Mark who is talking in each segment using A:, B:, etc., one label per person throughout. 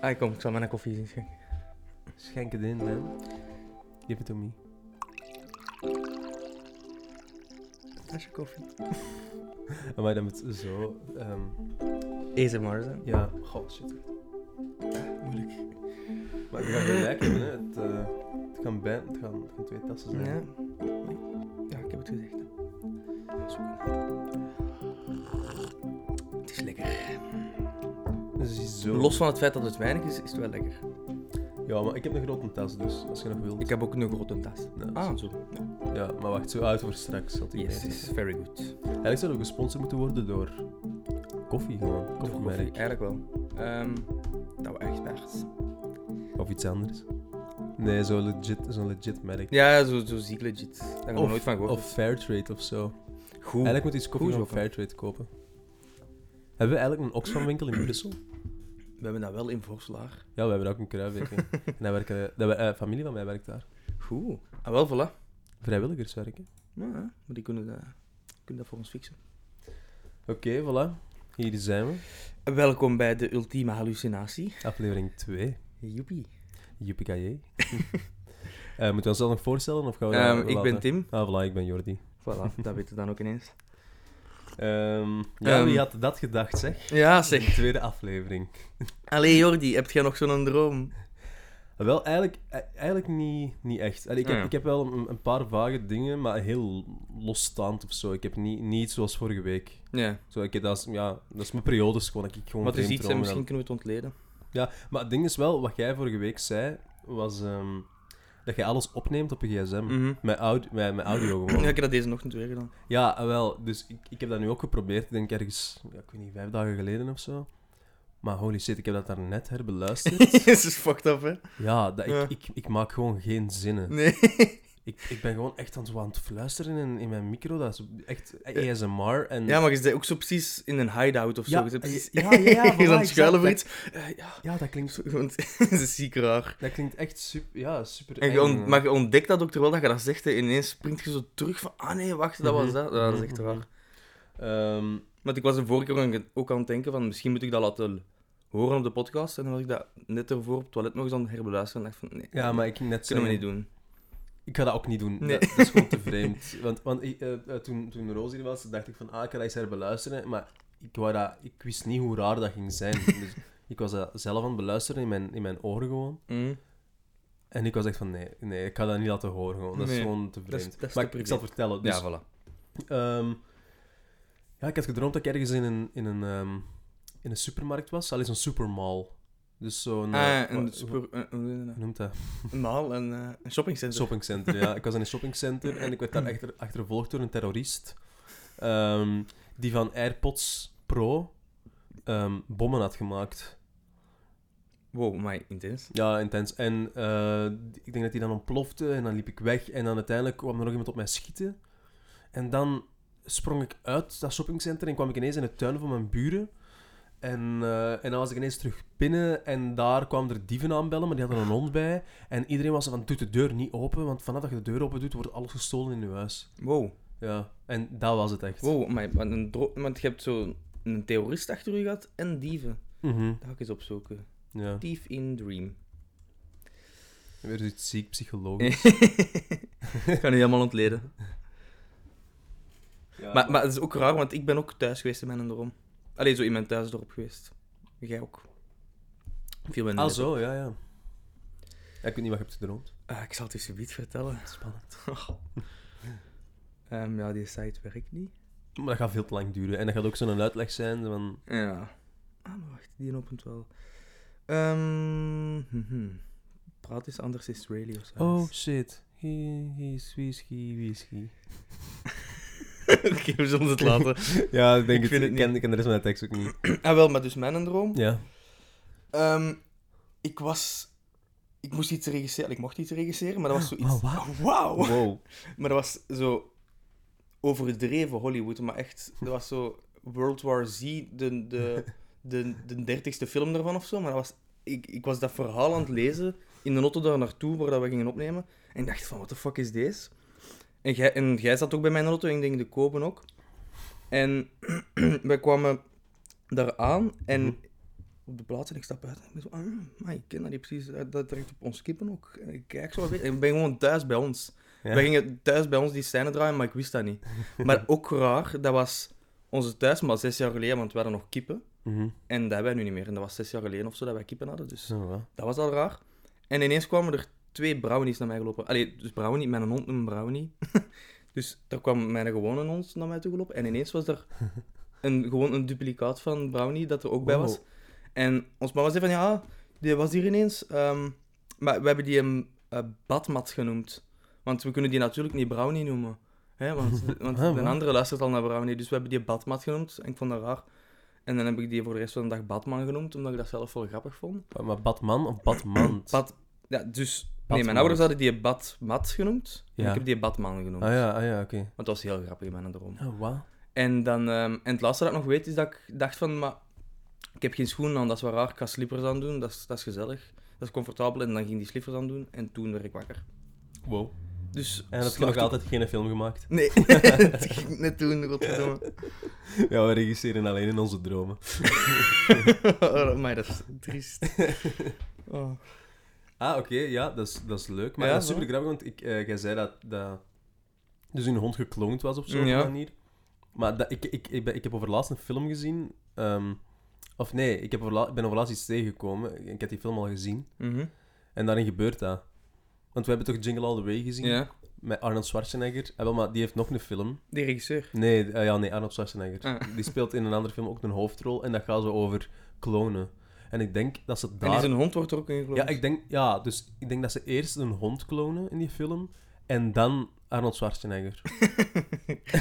A: Ah, kom, ik zal mijn koffie zien schenken.
B: Schenk het in, man. Give it to me.
A: Flesje koffie.
B: Maar dan moet zo... ehm,
A: ASMR, hè?
B: ja, goh, shit.
A: Moeilijk.
B: Maar het gaat wel lekker, hè. Het, eh, het kan bijna... Het gaan, het gaan twee tassen zijn.
A: Ja. Ja, ik heb het gezegd. Zo. Het is lekker.
B: Dus zo.
A: Los van het feit dat het weinig is, is het wel lekker.
B: Ja, maar ik heb een grote tas, dus als je nog wilt.
A: Ik heb ook een grote tas.
B: Nee,
A: Ah,
B: zo.
A: zo.
B: Ja, maar wacht, zo uit voor straks. Had ik
A: Yes,
B: net.
A: is very good.
B: Eigenlijk zou het ook gesponsord moeten worden door koffie gewoon.
A: Toch koffie,
B: Koffiemerk.
A: eigenlijk wel. Ehm, dat we echt ergens.
B: Of iets anders. Nee, zo'n legit, zo'n legit merk.
A: Ja, zo, zo ziek legit. Daar hebben we
B: Of-
A: nooit van gehoord.
B: Of Fairtrade of zo.
A: goed.
B: Eigenlijk moet iets koffie
A: Goed
B: van
A: zo, van.
B: Fairtrade kopen. Hebben we eigenlijk een Oxfam-winkel in Brussel?
A: We hebben dat wel in Voorslaar.
B: Ja, we hebben ook een Kruiwijk. en daar werken, daar, wer- eh, familie van mij werkt daar.
A: Goed. Ah, wel, voilà.
B: Vrijwilligers werken.
A: Ja, hè. maar die kunnen dat, kunnen dat voor ons fixen.
B: Oké, voilà. Hier zijn we.
A: Welkom bij de ultieme hallucinatie.
B: Aflevering 2.
A: Joepie.
B: Joepie Eh Moeten we onszelf nog voorstellen? Of gaan we
A: Ehm,
B: dat
A: ik ben
B: laten?
A: Tim.
B: Ah, Oh voilà, ik ben Jordi.
A: Voilà, dat weten we dan ook ineens.
B: Ehm, ja,
A: Ehm.
B: wie had dat gedacht, zeg?
A: Ja,
B: De
A: zeg.
B: tweede aflevering.
A: Allee Jordi, heb jij nog zo'n droom?
B: Wel, eigenlijk, e- eigenlijk niet, niet echt. Allee, ik, heb,
A: Ah, ja.
B: ik heb wel een, een paar vage dingen, maar heel losstaand of zo. Ik heb niet, niet iets zoals vorige week.
A: Ja.
B: Zo, ik, dat, is, ja, dat is mijn periodes gewoon. dat Ik gewoon
A: Wat is
B: vreemd
A: iets en
B: dromen
A: misschien
B: heb.
A: kunnen we het ontleden.
B: Ja, maar het ding is wel, wat jij vorige week zei, was ehm, dat jij alles opneemt op je gsm.
A: Mhm.
B: Met, aud- met, met audio
A: Ja,
B: Hm. gewoon.
A: ik heb dat deze ochtend weer gedaan.
B: Ja, ah, wel. Dus ik, ik heb dat nu ook geprobeerd. Ik denk ergens, ja, ik weet niet, vijf dagen geleden of zo. Maar holy shit, ik heb dat daarnet herbeluisterd.
A: Jezus, fucked up, hè?
B: ja, dat, ik,
A: Ja.
B: Ik, ik maak gewoon geen zinnen.
A: Nee.
B: Ik, ik ben gewoon echt aan, zo aan het fluisteren in, in mijn micro. Dat is echt ASMR. En,
A: Ja, maar je zit ook zo precies in een hideout of zo.
B: Ja,
A: je zit precies...
B: ja, ja, ja,
A: je
B: voilà,
A: bent aan het schuilen voor
B: exact.
A: iets. Eh, ja,
B: ja, dat, klinkt,
A: zo, want dat is ziek raar.
B: dat klinkt echt super, ja, super
A: En je
B: eng,
A: ont-
B: hè.
A: maar je ontdekt dat ook terwijl dat je dat zegt. En ineens springt je zo terug van... Ah nee, wacht, dat was
B: Mhm.
A: dat. Ja, dat is echt
B: Mhm,
A: raar.
B: Ehm,
A: Want ik was de vorige keer ook aan- ook aan het denken van... Misschien moet ik dat laten horen op de podcast. En dan had ik dat net ervoor op het toilet nog eens aan het herbeluisteren. En dacht van... Nee,
B: ja, maar ik ging net
A: dat kunnen we
B: zeggen-
A: niet doen.
B: Ik ga dat ook niet doen.
A: Nee.
B: Dat, dat is gewoon te vreemd. Want, want ik, eh, eh, toen, toen Roos hier was, dacht ik van, ah, ik ga dat eens herbeluisteren. Maar ik, wou dat, ik wist niet hoe raar dat ging zijn. Dus ik was dat zelf aan het beluisteren in mijn, in mijn oren gewoon.
A: Mm.
B: En ik was echt van, nee, nee ik ga dat niet laten horen. Gewoon. Dat
A: Nee.
B: is gewoon te
A: Dat is-
B: vreemd.
A: dat is
B: maar
A: te
B: ik, ik zal het vertellen. Dus,
A: ja, voilà.
B: ehm, ja, ik had gedroomd dat ik ergens in een, in een, ehm, in een supermarkt was. Al is een supermall. Dus zo'n... eh,
A: Ah, een
B: wat-
A: super... een- een-
B: Hoe noemt dat?
A: Een maal, een, eh, een shoppingcentrum.
B: shoppingcenter, ja. Ik was in een shoppingcenter en ik werd daar achter, achtervolgd door een terrorist. ehm, die van AirPods Pro ehm, bommen had gemaakt.
A: Wow, maar intens.
B: Ja, intens. En eh, ik denk dat die dan ontplofte en dan liep ik weg. En dan uiteindelijk kwam er nog iemand op mij schieten. En dan sprong ik uit dat shoppingcenter en kwam ik ineens in de tuin van mijn buren. En, eh, en dan was ik ineens terug binnen en daar kwamen er dieven aanbellen, maar die hadden een hond bij. En iedereen was van, doe de deur niet open, want vanaf dat je de deur open doet, wordt alles gestolen in je huis.
A: Wow,
B: Ja, en dat was het echt.
A: wow, maar maar een dro- want je hebt zo een terrorist achter u gehad en dieven.
B: Mhm,
A: Dat ga ik eens opzoeken.
B: ja,
A: Thief in Dream.
B: weer iets ziek psychologisch.
A: Ik ga nu helemaal ontleden.
B: Ja,
A: Eh, Maar, maar het is ook raar, want ik ben ook thuis geweest in mijn droom. Allee, zo in mijn thuisdorp geweest. Jij ook. Viel mij niet
B: Ah
A: net op.
B: zo, ja, ja. Ja, Ik weet niet wat je hebt gedroomd.
A: Ah, ik zal het je subiet vertellen.
B: Spannend.
A: Ehm, ja, die site werkt niet.
B: Maar dat gaat veel te lang duren. En dat gaat ook zo'n uitleg zijn van...
A: Ja. Ah, maar wacht, die opent wel. Ehm, mhm. Praat eens anders Israëli of zo.
B: Oh, shit. He, he's whisky, whisky.
A: Oké, we zullen het laten.
B: Ja, ik denk
A: Ik vind
B: ik het.
A: het
B: Ik ken, ik ken de rest van de tekst ook niet.
A: ah, wel, maar dus mijn droom.
B: Ja.
A: Ehm, ik was... Ik moest iets regisseren. Ik mocht iets regisseren, maar dat was zoiets... Oh,
B: Maar wat?
A: Wauw!
B: Wow.
A: Maar dat was zo overdreven Hollywood. Maar echt, dat was zo World War Z, de, de, de, de dertigste film daarvan of zo. Maar dat was, ik, ik was dat verhaal aan het lezen in de auto daar naartoe, waar dat we gingen opnemen. En ik dacht van, what the fuck is deze? En jij, en jij zat ook bij mijn auto, en ik denk de Kopen ook. En wij kwamen daar aan en op de plaats en ik stap uit. En ik ben zo, ah, maar ik ken dat niet precies. Dat, dat trekt op ons kippen ook. En ik kijk zo een beetje. En ik ben gewoon thuis bij ons.
B: Ja.
A: Wij gingen thuis bij ons die scène draaien, maar ik wist dat niet. Maar ook raar, dat was onze thuis, maar zes jaar geleden, want we hadden nog kippen.
B: Mhm.
A: En dat hebben wij nu niet meer. En dat was zes jaar geleden of zo dat wij kippen hadden. Dus
B: Zo, wel.
A: dat was al raar. En ineens kwamen er twee brownies naar mij gelopen. Allee, dus brownie, mijn hond noemt een brownie. dus daar kwam mijn gewone hond naar mij toe gelopen. En ineens was er een, gewoon een duplicaat van brownie dat er ook bij was.
B: Wow.
A: En ons mama zei van, ja, die was hier ineens. ehm, maar we hebben die hem eh, badmat genoemd. Want we kunnen die natuurlijk niet brownie noemen. Hè? Want, want
B: Ah,
A: een
B: wat?
A: andere luistert al naar brownie. Dus we hebben die badmat genoemd. En ik vond dat raar. En dan heb ik die voor de rest van de dag Batman genoemd, omdat ik dat zelf wel grappig vond.
B: Maar- Maar Batman of Batman?
A: Bad, ja, dus... Nee,
B: Batman.
A: mijn ouders hadden die Batmat genoemd. En
B: Ja.
A: ik heb die Batman genoemd.
B: Ah ja, ah ja, oké.
A: Want dat was heel grappig in mijn droom.
B: Ah, wauw.
A: En, dan, ehm, en het laatste dat ik nog weet, is dat ik dacht van... Maar, ik heb geen schoenen aan, dat is wel raar. Ik ga slippers aan doen, dat is, dat is gezellig. Dat is comfortabel. En dan ging die slippers aan doen. En toen werd ik wakker.
B: Wow.
A: Dus...
B: En heb je nog
A: slacht-
B: altijd geen film gemaakt?
A: Nee, dat ging ik net doen, godverdomme.
B: Ja, we regisseren alleen in onze dromen.
A: Oh, maar dat is triest. Oh.
B: Ah, oké, ja, dat is, dat is leuk. Maar
A: Ja,
B: dat is
A: zo.
B: super grappig, want ik, eh, jij zei dat, dat dus hun hond gekloond was op zo'n
A: Mm, Ja.
B: manier. Maar dat, ik, ik, ik, ben, ik heb overlaatst een film gezien. ehm, of nee, ik heb overla- ik ben overlaatst iets tegengekomen. Ik heb die film al gezien.
A: Mhm.
B: En daarin gebeurt dat. Want we hebben toch Jingle All The Way gezien?
A: Ja,
B: Met Arnold Schwarzenegger. Ah, wel, maar die heeft nog een film.
A: die regisseur.
B: Nee, eh, ja, nee, Arnold Schwarzenegger.
A: Ah.
B: Die speelt in een andere film ook een hoofdrol. En dat gaat zo over klonen. En ik denk dat ze
A: En
B: daar...
A: zijn hond wordt er ook in geloofd.
B: Ja, ik denk, ja, dus ik denk dat ze eerst een hond klonen in die film. En dan Arnold Schwarzenegger.
A: Ik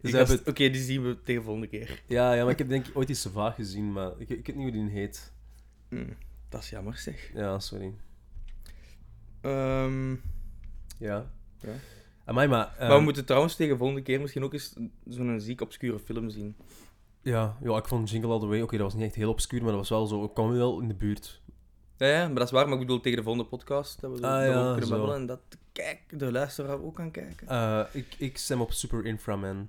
B: dus ze
A: was-
B: hebben,
A: Oké, die zien we tegen de volgende keer.
B: ja, ja, maar ik heb denk ik ooit iets vaag gezien, maar ik, ik weet niet hoe die heet.
A: Hm, Dat is jammer, zeg.
B: Ja, sorry.
A: Ehm,
B: Ja.
A: Ja.
B: Amai, maar... ehm,
A: maar we moeten trouwens tegen de volgende keer misschien ook eens zo'n ziek obscure film zien.
B: ja, ja, ik vond Jingle All The Way... Oké, dat was niet echt heel obscuur, maar dat was wel zo... Ik kwam wel in de buurt.
A: Ja, ja, maar dat is waar, maar ik bedoel tegen de volgende podcast. Dat we
B: Ah,
A: daarover
B: ja,
A: kunnen
B: zo.
A: babbelen en dat kijk, de luisteraar ook kan kijken.
B: Eh, ik, ik stem op Super Inframan.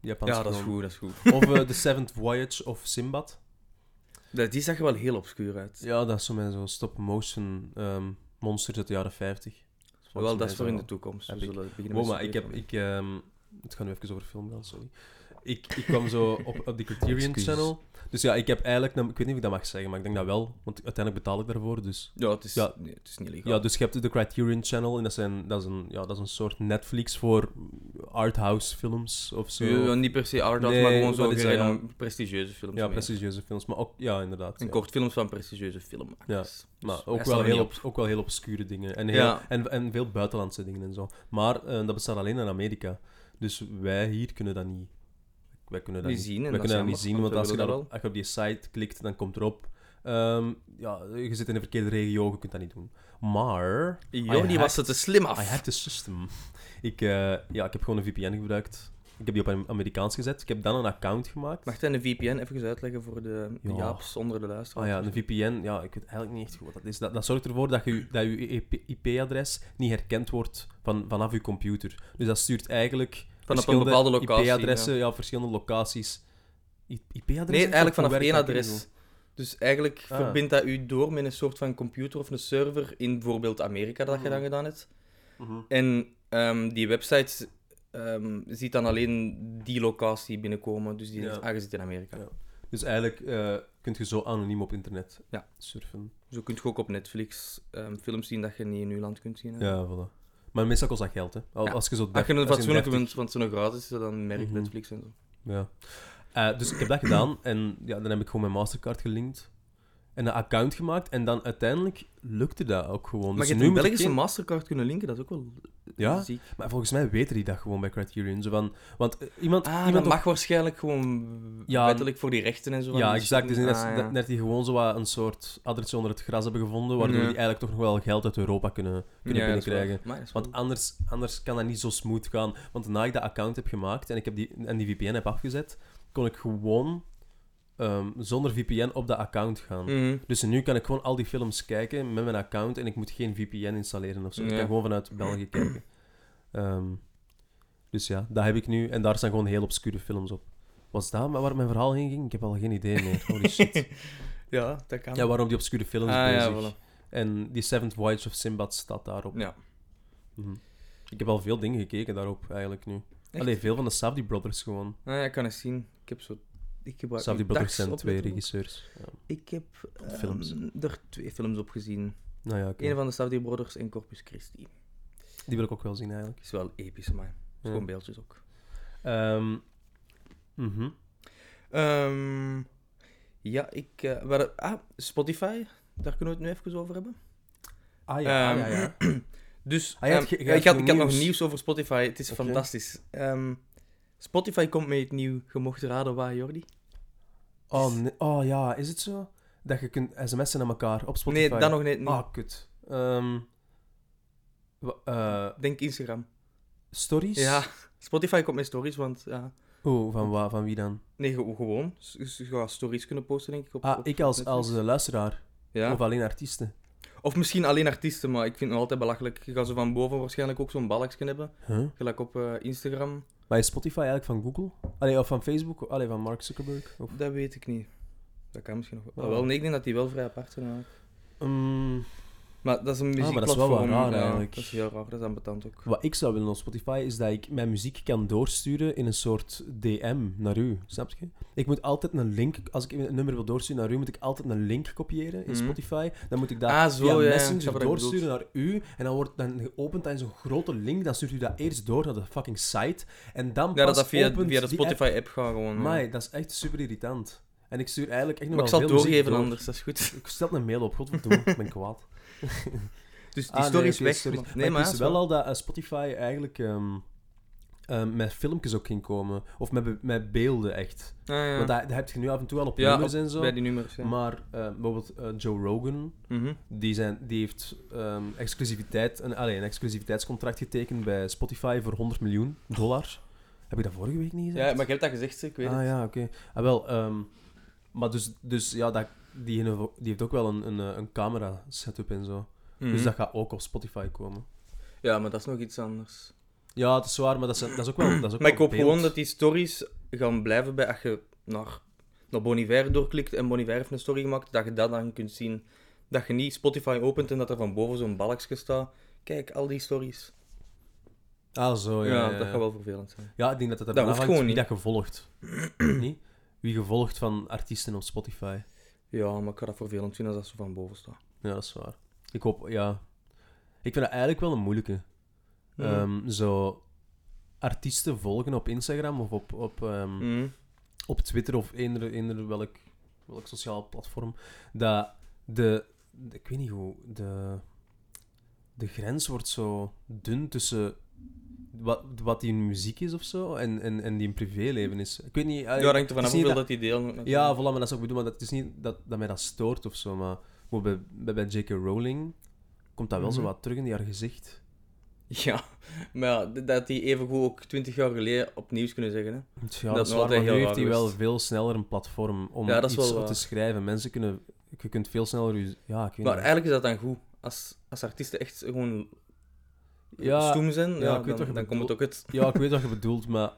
B: Japans
A: ja, dat is
B: film.
A: goed, dat is goed.
B: Of eh, The Seventh Voyage of Simbad.
A: Dat, die zag er wel heel obscuur uit.
B: Ja, dat is zo met zo'n stop-motion ehm monsters uit de jaren 50.
A: wel, dat is voor in de toekomst.
B: toekomst.
A: We
B: Heb ik-
A: zullen beginnen
B: Wow,
A: met
B: maar ik heb...
A: superfilm.
B: Ik, ehm, het gaat nu even over film wel, sorry. Ik, ik kwam zo op, op de Criterion
C: Excuses.
B: Channel. Dus ja, ik heb eigenlijk... een- Ik weet niet of ik dat mag zeggen, maar ik denk dat wel. Want uiteindelijk betaal ik daarvoor, dus...
A: Ja, het is,
B: Ja.
A: nee, het is niet legaal.
B: Ja, dus je hebt de Criterion Channel en dat, zijn, dat, is, een, ja, dat is een soort Netflix voor arthouse films of zo.
A: Ja, ja, niet per se art house,
B: Nee,
A: eh, maar gewoon zo
B: wat is dat, ja.
A: gereden- prestigieuze films.
B: Ja,
A: meer.
B: prestigieuze films, maar ook... Ja, inderdaad.
A: En
B: ja.
A: kortfilms van prestigieuze filmmakers.
B: Maar
A: Dus wij
B: ook
A: staan
B: wel,
A: er niet
B: heel
A: op.
B: ob- ook wel heel obscure dingen. En, heel,
A: Ja.
B: en, en veel buitenlandse dingen en zo. Maar eh, dat bestaat alleen in Amerika. Dus wij hier kunnen dat niet. Wij kunnen dat
A: Niet
B: niet,
A: zien, en
B: Wij
A: dat
B: kunnen
A: is
B: dat niet zien,
A: jammer, want
B: want
A: we
B: als
A: willen
B: je, daar
A: dat
B: op- als je op die site klikt, dan komt erop... ehm, ja, je zit in de verkeerde regio, je kunt dat niet doen. Maar...
A: Jordi was het te slim af.
B: I hacked the system. Ik, eh, ja, ik heb gewoon een VPN gebruikt. Ik heb die op Am- Amerikaans gezet. Ik heb dan een account gemaakt.
A: Mag ik dan een VPN even uitleggen voor de de
B: Ja.
A: Jaaps onder de luisteraar?
B: Ah ja, een VPN, ja, ik weet eigenlijk niet echt goed wat dat is. Dat, dat zorgt ervoor dat je dat je E IP-adres niet herkend wordt van, vanaf je computer. Dus dat stuurt eigenlijk
A: een bepaalde locatie,
B: IP-adressen, ja. op verschillende locaties. IP-adressen?
A: Nee, eigenlijk vanaf één
B: Oké,
A: adres. Dus eigenlijk
B: Ah.
A: verbindt dat u door met een soort van computer of een server in bijvoorbeeld Amerika
B: Ah.
A: dat je dan gedaan hebt.
B: Mhm.
A: En ehm, die website ehm, ziet dan alleen die locatie binnenkomen, dus die
B: Ja.
A: is aangezet in Amerika.
B: Ja. Dus eigenlijk eh kun je zo anoniem op internet
A: Ja.
B: surfen.
A: Zo kun je ook op Netflix ehm, films zien dat je niet in uw land kunt zien. hè.
B: Ja, voilà. Maar meestal kost dat geld, hè. Al-
A: Ja.
B: Als je zo
A: Als je een
B: als je
A: fatsoenlijke bent,
B: 30
A: want zo'n gratis is, dan merkt
B: Mhm.
A: Netflix en zo.
B: Ja. Eh, dus ik heb dat gedaan en ja, dan heb ik gewoon mijn Mastercard gelinkt en een account gemaakt en dan uiteindelijk lukte dat ook gewoon.
A: Maar
B: Dus
A: je hebt
B: nu
A: in
B: moet
A: België
B: ik
A: zijn
B: geen-
A: Mastercard kunnen linken, dat is ook wel
B: Ja?
A: ziek.
B: Maar volgens mij weten die dat gewoon bij Criterion. Zo van, want eh, iemand,
A: Ah,
B: iemand
A: dat
B: op-
A: mag waarschijnlijk gewoon
B: Ja,
A: wettelijk voor die rechten en zo. van
B: Ja,
A: die
B: exact. Dus
A: shit.
B: net,
A: Ah, ja.
B: net- net die gewoon zo wat een soort adresje onder het gras hebben gevonden, waardoor
A: Ja.
B: die eigenlijk toch nog wel geld uit Europa kunnen, kunnen
A: Mhm. Ja, dat is waar.
B: binnenkrijgen.
A: Maar dat is
B: Want
A: wel-
B: anders, anders kan dat niet zo smooth gaan. Want nadat ik dat account heb gemaakt en, ik heb die, en die VPN heb afgezet, kon ik gewoon ehm, zonder VPN op dat account gaan.
A: Mhm.
B: Dus nu kan ik gewoon al die films kijken met mijn account en ik moet geen VPN installeren of zo. Ik
A: Ja.
B: kan gewoon vanuit België kijken. Ehm, dus ja, dat heb ik nu. En daar staan gewoon heel obscure films op. Was dat maar waar mijn verhaal heen ging? Ik heb al geen idee meer. Holy shit.
A: Ja, dat kan.
B: Ja, waarom die obscure films
A: ah, ja,
B: bezig.
A: voilà.
B: En die Seventh Voyage of Sinbad staat daarop.
A: Ja.
B: Mhm. Ik heb al veel dingen gekeken daarop, eigenlijk, nu. Allee, veel van de Safdie Brothers gewoon.
A: Nou ja, ik kan het zien. Ik heb zo... Ik heb
B: Safdie Brothers zijn
A: dags
B: twee
A: opletten.
B: regisseurs. Ja.
A: Ik heb ehm,
B: Films.
A: er twee films op gezien.
B: Nou ja, oké.
A: Eén van de Safdie Brothers en Corpus Christi.
B: die wil ik ook wel zien, eigenlijk.
A: Is wel episch, maar
B: Ja.
A: gewoon beeldjes ook.
B: Ehm, mhm.
A: Ehm, ja, ik... eh, we hadden- ah, Spotify. Daar kunnen we het nu even over hebben.
B: Ah ja, ah, ja, ja.
A: Dus
B: Ah, je had
A: ehm,
B: ge- je
A: ja,
B: had
A: ik, had,
B: nog
A: ik had nog
B: nieuws.
A: nieuws over Spotify. Het is
B: Oké.
A: fantastisch. Ehm, Spotify komt met het nieuw. Je mocht raden waar, Jordi?
B: Oh, nee. oh ja, is het zo? Dat je kunt sms'en naar elkaar op Spotify?
A: Nee, dat nog niet. niet.
B: Ah, kut. Ehm, wa- eh,
A: Denk Instagram.
B: stories?
A: Ja, Spotify komt met stories, want... ja.
B: Oh, van, wa- van wie dan?
A: nee, ge- gewoon. S- s- Je gaat stories kunnen posten, denk ik. Op,
B: Ah,
A: op
B: ik als,
A: Netflix.
B: als eh, luisteraar.
A: Ja.
B: Of alleen artiesten.
A: Of misschien alleen artiesten, maar ik vind het altijd belachelijk. Je gaat zo van boven waarschijnlijk ook zo'n balkje hebben.
B: Huh?
A: Gelijk op eh, Instagram.
B: Maar is Spotify eigenlijk van Google? Allee, of van Facebook? Allee, van Mark Zuckerberg? Of...
A: Dat weet ik niet. Dat kan misschien nog wel.
B: Ah.
A: Ah, wel, nee, ik denk dat die wel vrij apart zijn. eigenlijk.
B: Ehm,
A: Ah, Maar dat is een
B: maar dat is wel
A: muziekplatform.
B: wel raar,
A: ja.
B: eigenlijk.
A: Dat is heel raar, dat is ambetant ook.
B: wat ik zou willen op Spotify is dat ik mijn muziek kan doorsturen in een soort DM naar u. Snap je? Ik moet altijd een link, als ik een nummer wil doorsturen naar u, moet ik altijd een link kopiëren in
A: Mhm.
B: Spotify. Dan moet ik dat
A: Ah, zo, ja,
B: via
A: ja, ik snap
B: Messenger
A: wat je
B: doorsturen naar u. En dan wordt dan geopend aan zo'n grote link. Dan stuurt u dat eerst door naar de fucking site. En dan
A: Ja, dat
B: pas
A: dat via,
B: opent
A: via de
B: die app.
A: Spotify-app gaat gewoon. ja.
B: Amai, dat is echt super irritant. En ik stuur eigenlijk echt nog
A: Maar ik
B: wel
A: zal het
B: veel muziek
A: doorgeven
B: door. Ah,
A: anders, dat is goed.
B: Ik stel een mail op, godverdomme, ik ben kwaad.
A: Dus die
B: Ah,
A: story is
B: oké,
A: weg.
B: sorry.
A: maar-
B: maar ik
A: dat
B: wist
A: is
B: wel al dat eh, Spotify eigenlijk ehm, ehm, met filmpjes ook ging komen. Of met, be- met beelden, echt.
A: Ah, ja.
B: Want dat, dat heb je nu af en toe al op
A: Ja,
B: nummers
A: op-
B: en zo.
A: bij die nummers. Ja.
B: Maar eh, bijvoorbeeld eh, Joe Rogan,
A: Mhm.
B: die, zijn, die heeft ehm, exclusiviteit, een, allee, een exclusiviteitscontract getekend bij Spotify voor 100 miljoen dollar. Heb ik dat vorige week niet gezegd?
A: Ja, maar je hebt dat gezegd, ik weet
B: ah,
A: het.
B: ja, oké. Ah, wel, ehm, maar dus, dus ja, dat, die, die heeft ook wel een, een, eh, een camera-setup en zo. Dus
A: Mhm.
B: dat gaat ook op Spotify komen.
A: Ja, maar dat is nog iets anders.
B: Ja, het is waar, maar dat is, dat is ook wel... Dat is ook
A: Maar ik
B: wel
A: hoop gewoon
B: beeld.
A: dat die stories gaan blijven bij als je naar, naar Bon Iver doorklikt en Bon Iver heeft een story gemaakt, dat je dat dan kunt zien. Dat je niet Spotify opent en dat er van boven zo'n balkje staat. Kijk, al die stories.
B: Ah, zo, ja.
A: ja,
B: Ja, ja.
A: dat gaat wel vervelend zijn.
B: Ja, ik denk dat het er
A: Dat
B: vanaf
A: hoeft
B: hangt wie
A: gewoon
B: dat gevolgd. niet? Wie gevolgd van artiesten op Spotify.
A: Ja, maar ik ga dat vervelend vinden als dat zo van boven staat.
B: Ja, dat is waar. Ik hoop, ja... Ik vind dat eigenlijk wel een moeilijke. Ehm, zo... Artiesten volgen op Instagram of op, op, ehm,
A: Mhm.
B: op Twitter of eender, eender welk, welk sociaal platform. Dat de, de- Ik weet niet hoe... De, de grens wordt zo dun tussen... Wat, wat die muziek is of zo en, en, en die een privéleven is. Ik weet niet.
A: Ja,
B: eh,
A: dat hangt er
B: het
A: vanaf
B: is niet
A: hoeveel
B: dat-
A: dat die deel...
B: ja, voilà, maar dat is ook bedoeld. Maar dat, het is niet dat, dat mij dat stoort of zo, maar bijvoorbeeld bij, bij, bij J.K. Rowling komt dat wel
A: Mhm.
B: zo wat terug in die haar gezicht.
A: Ja, maar ja, d- dat die evengoed ook twintig jaar geleden opnieuw kunnen zeggen. Hè.
B: Ja,
A: Dat
B: dat,
A: is
B: is
A: wel
B: waar, maar
A: heel
B: nu heeft
A: raar
B: hij wel
A: geweest.
B: veel sneller een platform om
A: Ja, dat is
B: iets
A: wel
B: op te
A: waar.
B: schrijven. Mensen kunnen... Je kunt veel sneller... Je, ja, ik weet
A: Maar
B: niet.
A: eigenlijk is dat dan goed. Als, als artiesten echt gewoon
B: Ja,
A: stoem zijn, ja,
B: ja, ik
A: dan,
B: weet wat je
A: dan komt het ook het.
B: ja, ik weet wat je bedoelt, maar...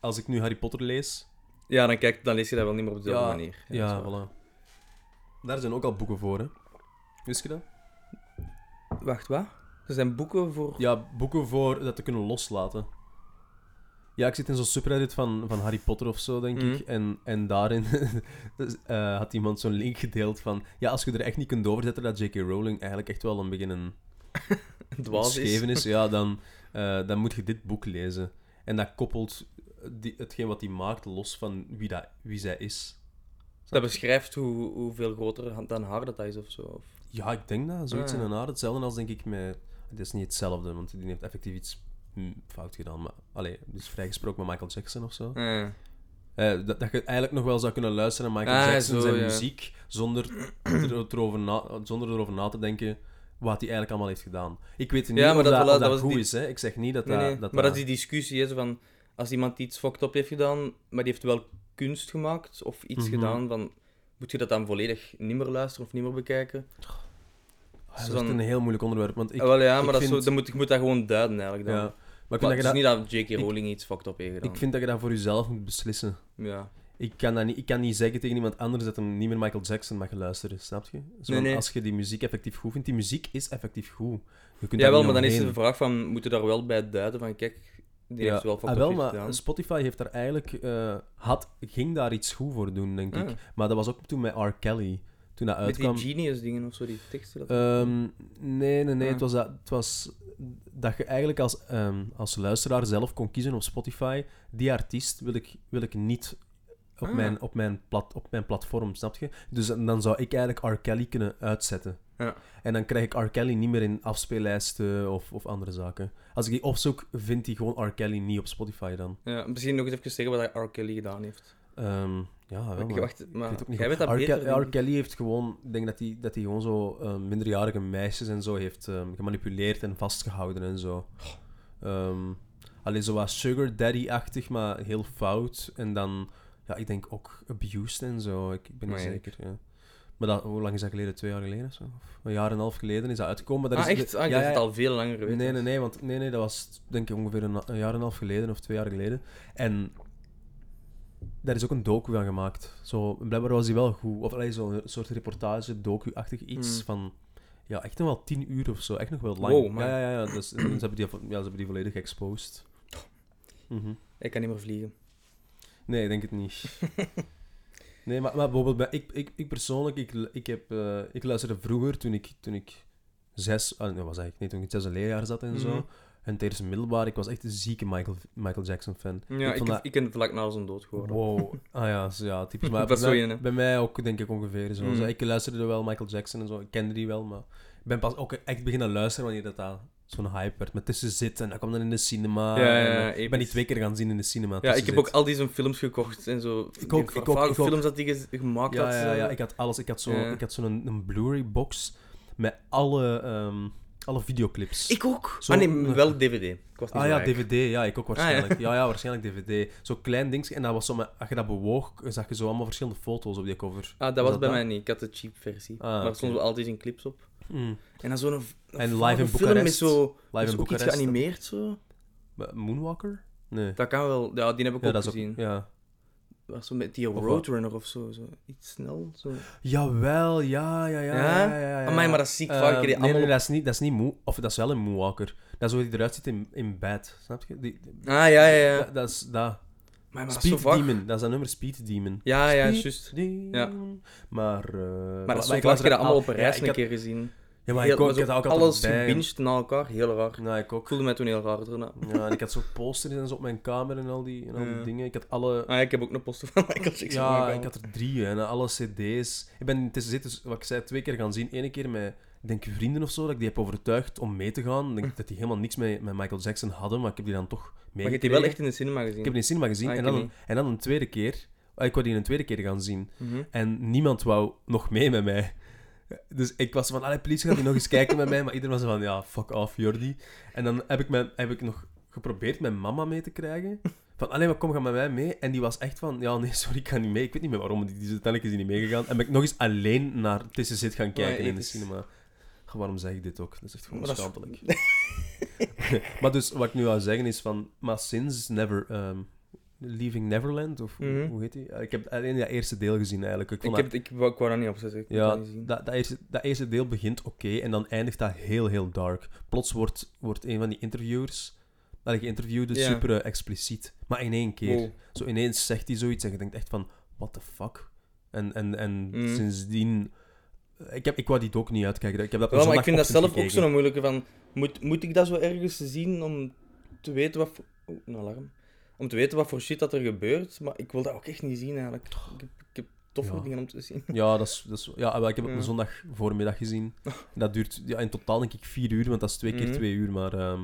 B: Als ik nu Harry Potter lees...
A: Ja, dan, kijk, dan lees je dat wel niet meer op dezelfde
B: Ja,
A: manier.
B: Ja,
A: dat is wel-
B: voilà. Daar zijn ook al boeken voor, hè. Wist je dat?
A: Wacht, wat? Er zijn boeken voor...
B: Ja, boeken voor dat te kunnen loslaten. Ja, ik zit in zo'n subreddit van, van Harry Potter of zo, denk ik. En, en daarin dus, eh, had iemand zo'n link gedeeld van... Ja, als je er echt niet kunt overzetten dat J.K. Rowling eigenlijk echt wel een begin een
A: dwaas is.
B: scheven is, ja, dan, eh, dan moet je dit boek lezen. En dat koppelt die, hetgeen wat hij maakt los van wie, dat, wie zij is.
A: Dat beschrijft hoe, hoeveel groter dan haar dat is of zo. Of...
B: Ja, ik denk dat. Zoiets
A: Ah, ja.
B: in een aard. Hetzelfde als, denk ik, met... Het is niet hetzelfde, want die heeft effectief iets hm, fout gedaan. Maar, allee, dus vrijgesproken met Michael Jackson of zo.
A: Ja.
B: Eh, dat, dat je eigenlijk nog wel zou kunnen luisteren naar Michael
A: Ah,
B: Jackson
A: zo,
B: zijn
A: ja.
B: muziek zonder, er- erover na, zonder erover na te denken wat hij eigenlijk allemaal heeft gedaan. Ik weet niet
A: Ja, maar
B: of
A: dat-
B: dat,
A: voilà,
B: of dat
A: dat was
B: goed
A: die-
B: is. Hè. Ik zeg niet dat
A: Nee,
B: dat...
A: nee.
B: dat
A: maar dat is die discussie, hè, zo van... Als iemand iets fucked up heeft gedaan, maar die heeft wel kunst gemaakt of iets
B: Mhm.
A: gedaan, van... Moet je dat dan volledig niet meer luisteren of niet meer bekijken?
B: Ah, dat is
A: zo'n-
B: echt een heel moeilijk onderwerp. Want ik,
A: Ah, wel, ja,
B: ik
A: maar dat is zo-
B: vind-
A: dan moet, je moet dat gewoon duiden eigenlijk. Dan.
B: ja,
A: Maar
B: maar ik
A: het
B: vind, dat
A: is
B: je dat,
A: niet dat J.K. Rowling iets fucked up heeft gedaan.
B: ik vind dat je dat voor jezelf moet beslissen.
A: Ja.
B: Ik kan, dat niet, ik kan niet zeggen tegen iemand anders dat hem niet meer Michael Jackson mag luisteren, snap je? Zo,
A: Nee, nee.
B: Als je die muziek effectief goed vindt, die muziek is effectief goed. Je kunt
A: Ja,
B: daar
A: wel,
B: niet
A: maar dan is
B: omheen.
A: de vraag van, moeten daar wel bij duiden van, kijk, die heeft wel
B: ah,
A: factor
B: wel,
A: 50
B: maar
A: gedaan.
B: Spotify heeft daar eigenlijk, eh, had, ging daar iets goed voor doen, denk ik.
A: Ah,
B: Maar dat was ook toen met R. Kelly, toen dat
A: met die
B: uitkwam.
A: genius dingen of zo, die teksten. dat-
B: Ehm, nee, nee, nee.
A: Ah.
B: Het, was dat, het was dat je eigenlijk als, ehm, als luisteraar zelf kon kiezen op Spotify. Die artiest wil ik, wil ik niet op,
A: Ah.
B: mijn, op, mijn plat, op mijn platform, snap je? Dus dan dan zou ik eigenlijk R. Kelly kunnen uitzetten.
A: Ja.
B: En dan krijg ik R. Kelly niet meer in afspeellijsten of, of andere zaken. Als ik die opzoek, vindt hij gewoon R. Kelly niet op Spotify dan.
A: Ja, misschien nog eens even zeggen wat hij R. Kelly gedaan heeft.
B: Ehm, ja, wel,
A: Ik
B: maar-
A: wacht, maar
B: ik weet ook niet
A: jij weet
B: goed.
A: dat
B: R.
A: beter.
B: Ke-
A: denk
B: R.
A: ik.
B: Kelly heeft gewoon, ik denk dat hij dat hij gewoon zo eh, minderjarige meisjes en zo heeft eh, gemanipuleerd en vastgehouden en zo. Ehm alleen zo wat sugar daddy-achtig, maar heel fout. En dan, ja, ik denk ook abused en zo. Ik, ik ben niet
A: Maar ja.
B: zeker. Ja. Maar dat, hoe lang is dat geleden? Twee jaar geleden of zo? Of een jaar en een half geleden is dat uitgekomen. Maar dat
A: Ah,
B: is,
A: echt? Ah, ik
B: ja,
A: dacht
B: ja,
A: het al veel langer weet.
B: Nee, nee, nee, want nee, nee, dat was denk ik ongeveer een, een jaar en een half geleden of twee jaar geleden. En daar is ook een docu van gemaakt. Zo, blijkbaar was die wel goed. Of allee, zo'n soort reportage, docu-achtig iets
A: Hmm.
B: van... Ja, echt nog wel tien uur of zo. Echt nog wel lang.
A: Wow, man.
B: ja, ja, ja. Dus, ze, hebben die, ja, ze hebben die volledig exposed. Mhm.
A: Ik kan niet meer vliegen.
B: Nee, ik denk het niet. nee, maar, maar bijvoorbeeld, bij, ik, ik, ik persoonlijk, ik, lu- ik, heb, eh, ik luisterde vroeger toen ik, toen ik zes, ah, nee, was eigenlijk niet, toen ik in het zesde leerjaar zat en
A: Mhm.
B: zo. En tijdens het middelbaar, ik was echt een zieke Michael, Michael Jackson fan.
A: Ja, ik,
B: vond
A: ik, ken vlak na zijn dood geworden.
B: Wow. Ah ja, zo, ja typisch. Maar
A: Dat
B: bij,
A: zou
B: mij,
A: je, hè?
B: bij mij ook, denk ik, ongeveer zo.
A: Mm.
B: Zo, Ik luisterde wel Michael Jackson en zo. Ik kende die wel, maar ik ben pas ook echt beginnen luisteren wanneer dat daar zo'n hype werd. Met tussen zitten en dat kwam dan in de cinema.
A: Ja, ja,
B: en,
A: ja,
B: eh, ik ben die
A: episch.
B: twee keer gaan zien in de cinema.
A: Ja, ik
B: Tussen
A: heb ook al die zijn films gekocht en zo.
B: dus Ik ook,
A: Die
B: ik ook,
A: vage
B: ik ook.
A: films dat hij gemaakt
B: Ja,
A: had.
B: ja,
A: eh,
B: ja, ik had alles. Ik had zo'n
A: Ja.
B: had zo een, een Blu-ray-box met alle, ehm, alle videoclips.
A: Ik ook.
B: Zo-
A: ah nee, wel DVD. Ik was niet
B: Ah
A: zo
B: ja,
A: rijk.
B: DVD, ja, ik ook
A: Ah, ja.
B: waarschijnlijk. ja. ja, waarschijnlijk DVD. Zo'n klein ding. En dat was zo, met- als je dat bewoog, zag je zo allemaal verschillende foto's op die cover.
A: Ah, dat
B: Was
A: was
B: dat
A: bij
B: dat?
A: mij niet. Ik had de cheap versie.
B: Ah,
A: maar er
B: oké.
A: stonden altijd in clips op.
B: Mm.
A: En dan zo'n een
B: En
A: vage
B: Live in
A: film met
B: Boekarest.
A: zo
B: Live
A: is
B: in
A: ook iets
B: Boekarest.
A: geanimeerd zo.
B: Maar Moonwalker? Nee.
A: Dat kan wel. Ja, die heb ik
B: Ja,
A: ook
B: dat is
A: gezien.
B: ook... Ja.
A: Was zo met die
B: wat?
A: Roadrunner of zo, zo. Iets snel. Zo.
B: Jawel, ja, ja, ja.
A: Ja?
B: ja, ja, ja, ja.
A: Amai, maar dat is ziek.
B: Ehm,
A: vaak keer die
B: nee, nee,
A: allemaal...
B: nee, dat is niet, dat is niet moe, of dat is wel een Moonwalker. Dat is hoe die eruit ziet in, in bed, snap je? Die, die-
A: Ah, ja, ja, ja.
B: Dat, dat is dat.
A: Maar, maar dat is zo
B: Speed
A: vaag.
B: Demon, dat is dat nummer Speed Demon.
A: Ja, ja,
B: Speed
A: juist.
B: Demon. Maar, eh
A: Maar dat is zo vaak
B: ik luister
A: keer dat allemaal op
B: al-
A: een reis
B: ja,
A: een
B: ik had-
A: keer gezien.
B: Ja, maar
A: Heel-
B: ik ook.
A: was
B: Ik had dat ook altijd
A: alles
B: bij.
A: gebinged na elkaar, heel raar.
B: Ja, ik
A: Ik
B: ook.
A: voelde mij toen heel raar daarna.
B: Ja, en ik had zo posters en zo op mijn kamer en al die, en al die
A: Ja.
B: dingen. Ik had alle...
A: Ah, ja, ik heb ook een poster van Michael Jackson.
B: Ja,
A: gemaakt.
B: ik had er drie hè, en alle cd's. Ik ben tussen zitten, dus wat ik zei, twee keer gaan zien. Eén keer met, ik denk, vrienden of zo, dat ik die heb overtuigd om mee te gaan. Ik denk dat die helemaal niks met, met Michael Jackson hadden, maar ik heb die dan toch mee.
A: Hm. Maar je hebt die wel echt in de cinema gezien.
B: Ik heb die in de cinema gezien
A: Ah, ik
B: en, dan,
A: niet.
B: een- en dan een tweede keer. Ah, Ik wou die een tweede keer gaan zien.
A: Mhm.
B: En niemand wou nog mee met mij. Dus ik was van, allee, please, gaat die nog eens kijken met mij? Maar iedereen was van, ja, fuck off, Jordi. En dan heb ik, mijn, heb ik nog geprobeerd mijn mama mee te krijgen. Van, allee, maar kom, ga met mij mee. En die was echt van, ja, nee, sorry, ik ga niet mee. Ik weet niet meer waarom, die, die is uiteindelijk is die niet meegegaan. En ben ik nog eens alleen naar Tussen Zit gaan kijken in de
A: ethisch.
B: cinema. Goh, waarom zeg ik dit ook? Dat is echt
A: Oh,
B: gewoon
A: Maar dat is-
B: schaamtelijk. maar dus, wat ik nu wou zeggen is van, maar sinds Never... ehm, Leaving Neverland, of hoe-
A: Mhm.
B: hoe heet die? Ik heb alleen dat eerste deel gezien eigenlijk. Ik
A: Ik,
B: vond dat-
A: heb, ik, wou- ik wou dat niet opzetten. Ik heb
B: ja,
A: dat niet gezien.
B: dat, dat, eerste, dat eerste deel begint oké en dan eindigt dat heel, heel dark. Plots wordt, wordt een van die interviewers, dat ik interviewde,
A: Ja.
B: super eh, expliciet. Maar in één keer.
A: Wow.
B: Zo ineens zegt hij zoiets en je denkt echt van, what the fuck? En, en, en
A: Mm.
B: sindsdien... eh, Ik, heb, ik wou die ook niet uitkijken. Ik heb dat
A: Wel, maar ik vind dat zelf
B: zondagochtend
A: ook zo'n moeilijke van... Moet, moet ik dat zo ergens zien om te weten wat voor... Oeh, een alarm. Om te weten wat voor shit dat er gebeurt. Maar ik wil dat ook echt niet zien, eigenlijk. Ik heb, ik heb toffe
B: Ja.
A: dingen om te zien.
B: Ja, dat is, dat is, ja maar ik heb het
A: Ja.
B: op een zondag voormiddag gezien. Dat duurt ja, in totaal denk ik vier uur, want dat is twee keer
A: Mhm.
B: twee uur. Maar ehm,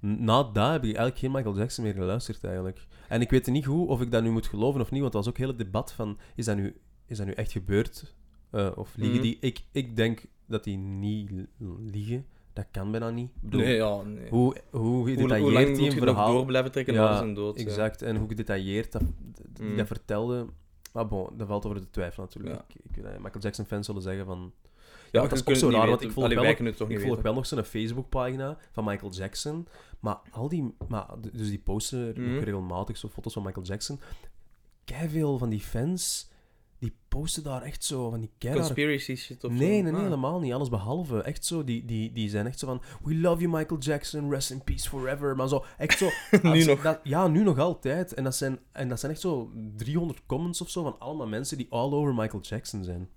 B: na dat heb ik eigenlijk geen Michael Jackson meer geluisterd eigenlijk. En ik weet niet goed of ik dat nu moet geloven of niet, want dat was ook heel het debat van, is dat nu, is dat nu echt gebeurd? Eh, of liegen
A: Mhm.
B: die? Ik, ik denk dat die niet l- liegen. Dat kan bijna niet. Ik bedoel,
A: Nee, ja, nee. Hoe,
B: Hoe, hoe
A: hoe
B: gedetailleerd
A: lang moet
B: die
A: je
B: een
A: het nog
B: verhaal...
A: door blijven trekken
B: Ja,
A: na zijn dood? ja.
B: Exact, en hoe gedetailleerd dat, dat- die
A: Mm.
B: dat vertelde. Maar bon, dat valt over de twijfel natuurlijk.
A: Ja.
B: Ik, ik weet dat Michael Jackson-fans zullen zeggen van...
A: Ja,
B: Ja,
A: maar
B: maar dat
A: je
B: is ook
A: kunt het
B: zo
A: niet
B: raar, want
A: weten.
B: ik volg,
A: Allee,
B: wel,
A: wij
B: nog-
A: kunnen het toch
B: ik
A: niet
B: volg
A: weten.
B: wel nog zo'n Facebookpagina van Michael Jackson. Maar al die... Maar, dus die posten
A: Mhm.
B: ook regelmatig zo foto's van Michael Jackson. veel van die fans, die posten daar echt zo van die keirare
A: Conspiracy shit of
B: Nee,
A: zo.
B: nee, nee,
A: Ah.
B: helemaal niet. Alles behalve. Echt zo, die, die, die zijn echt zo van... We love you, Michael Jackson. Rest in peace forever. Maar zo, echt zo...
A: Nu
B: als-
A: nog.
B: dat- ja, nu nog altijd. En dat, zijn, en dat zijn echt zo 300 comments of zo van allemaal mensen die all over Michael Jackson zijn.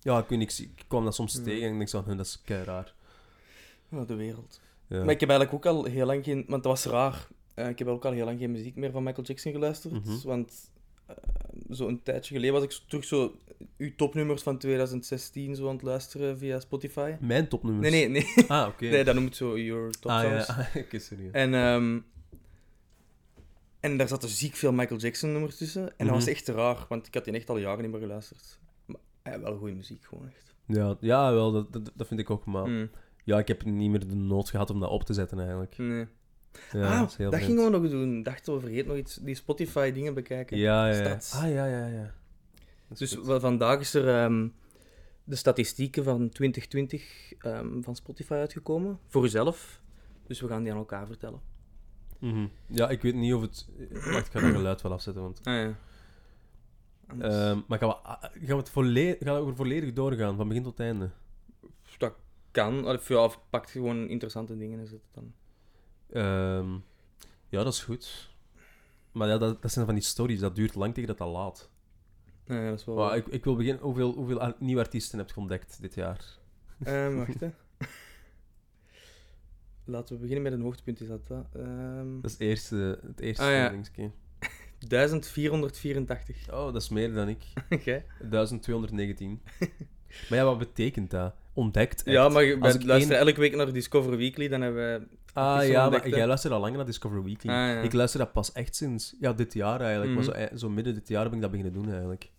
B: Ja, ik weet niet, ik zie- ik kwam dat soms
A: Hmm.
B: tegen en ik denk zo, "Huh, dat is kei raar.
A: Ja, de wereld.
B: Ja.
A: Maar ik heb eigenlijk ook al heel lang geen... Want dat was raar. Eh, ik heb ook al heel lang geen muziek meer van Michael Jackson geluisterd.
B: Mhm.
A: Want eh, zo een tijdje geleden was ik zo- terug zo... Uw topnummers van 2016 zo aan het luisteren via Spotify.
B: Mijn topnummers.
A: Nee, nee, nee.
B: Ah, oké.
A: nee dat noemt zo your top
B: ah, ja.
A: songs.
B: Ah, oké, sorry.
A: En, ehm, en daar zaten ziek veel Michael Jackson nummers tussen. En dat was
B: Mhm.
A: echt raar, want ik had die echt al jaren niet meer geluisterd. Maar eh, wel goede muziek, gewoon echt.
B: Ja, ja wel, dat, dat, dat vind ik ook. Maar
A: Mm,
B: ja, ik heb niet meer de nood gehad om dat op te zetten, eigenlijk.
A: nee.
B: Ja,
A: ah,
B: dat is
A: dat,
B: heel vreemd.
A: gingen we nog doen. Dachten we, vergeet nog iets, die Spotify-dingen bekijken.
B: Ja, ja. ja.
A: Stads.
B: Ah, ja, ja, ja. Dat is
A: Dus
B: goed.
A: wel, vandaag is er ehm, de statistieken van 2020 ehm, van Spotify uitgekomen. Voor uzelf. Dus we gaan die aan elkaar vertellen.
B: Mhm. Ja, ik weet niet of het... Wacht, ik ga dat geluid wel afzetten, want...
A: Ah ja. Anders-
B: Ehm, maar gaan we, ah, gaan we het volle- gaan we er volledig doorgaan, van begin tot einde?
A: dat kan. Of, ja, of pakt gewoon interessante dingen en zet het dan.
B: Ehm, ja, dat is goed. Maar ja, dat, dat zijn van die stories, dat duurt lang tegen dat dat laat.
A: Ah ja, dat is wel...
B: Maar ik, ik wil beginnen, hoeveel, hoeveel ar- nieuwe artiesten heb je ontdekt dit jaar?
A: Ehm, wacht, hè. Laten we beginnen met een hoogtepunt, is dat dat? Ehm,
B: Dat is het eerste, het eerste
A: Ah, ja.
B: dingetje.
A: 1484.
B: Oh, dat is meer dan ik.
A: Gij?
B: 1219. maar ja, wat betekent dat? Ontdekt echt.
A: Ja, maar je- wij
B: Als ik
A: luisteren elke week naar Discover Weekly, dan hebben wij...
B: Ah
A: is zo
B: ja,
A: ontdekt,
B: maar
A: hè?
B: jij luistert al langer naar Discover Weekly.
A: Ah, ja.
B: Ik luister dat pas echt sinds ja, dit jaar eigenlijk.
A: Mhm.
B: Maar zo, zo midden dit jaar ben ik dat beginnen doen eigenlijk.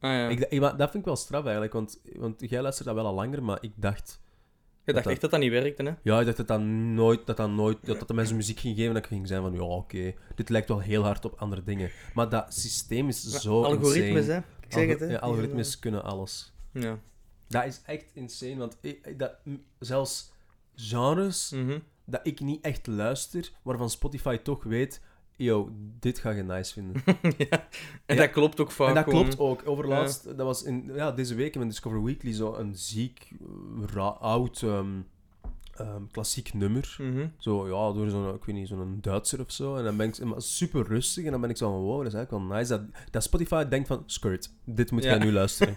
A: Ah ja.
B: Ik, d- ik- maar dat vind ik wel straf eigenlijk, want, want jij luistert dat wel al langer, maar ik dacht...
A: Je dacht
B: dat-
A: echt dat dat niet werkte, hè?
B: Ja, ik dacht dat dat nooit... Dat, dat, nooit, dat, dat de mensen muziek ging geven en dat ik ging zijn van... Ja, oké, dit lijkt wel heel hard op andere dingen. Maar dat systeem is zo
A: Algoritmes,
B: insane.
A: hè? Ik zeg het, hè?
B: Ja, algoritmes kunnen alles.
A: Ja.
B: Dat is echt insane, want ik, ik- dat, m- zelfs genres
A: Mhm.
B: dat ik niet echt luister, waarvan Spotify toch weet... Yo, dit ga je nice vinden.
A: ja. En
B: Ja.
A: dat klopt ook vaak
B: En dat
A: gewoon.
B: klopt ook. Overlaatst, dat was in, ja, deze week in mijn Discover Weekly zo een ziek, eh, ra- oud, ehm, ehm, klassiek nummer.
A: Mhm.
B: Zo, ja, door zo'n, ik weet niet, zo'n Duitser of zo. En dan ben ik maar super rustig en dan ben ik zo van, wow, dat is eigenlijk wel nice. Dat, dat Spotify denkt van, skirt, dit moet
A: Ja.
B: jij nu luisteren.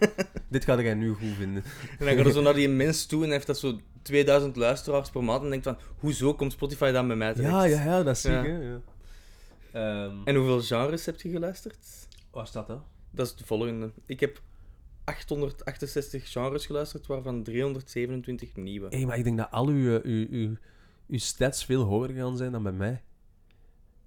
B: dit ga jij nu goed vinden.
A: En dan gaat er zo naar die mens toe en heeft dat zo 2000 luisteraars per maand en denkt van, hoezo komt Spotify dan bij mij terecht?
B: Ja, ja, ja, dat is ziek,
A: Ja.
B: hè. Ja. Ehm,
A: En hoeveel genres heb je geluisterd?
B: waar staat dat?
A: Dat is de volgende. Ik heb 868 genres geluisterd, waarvan 327 nieuwe.
B: Hé, maar ik denk dat al uw, eh, uw, uw, uw stats veel hoger gaan zijn dan bij mij.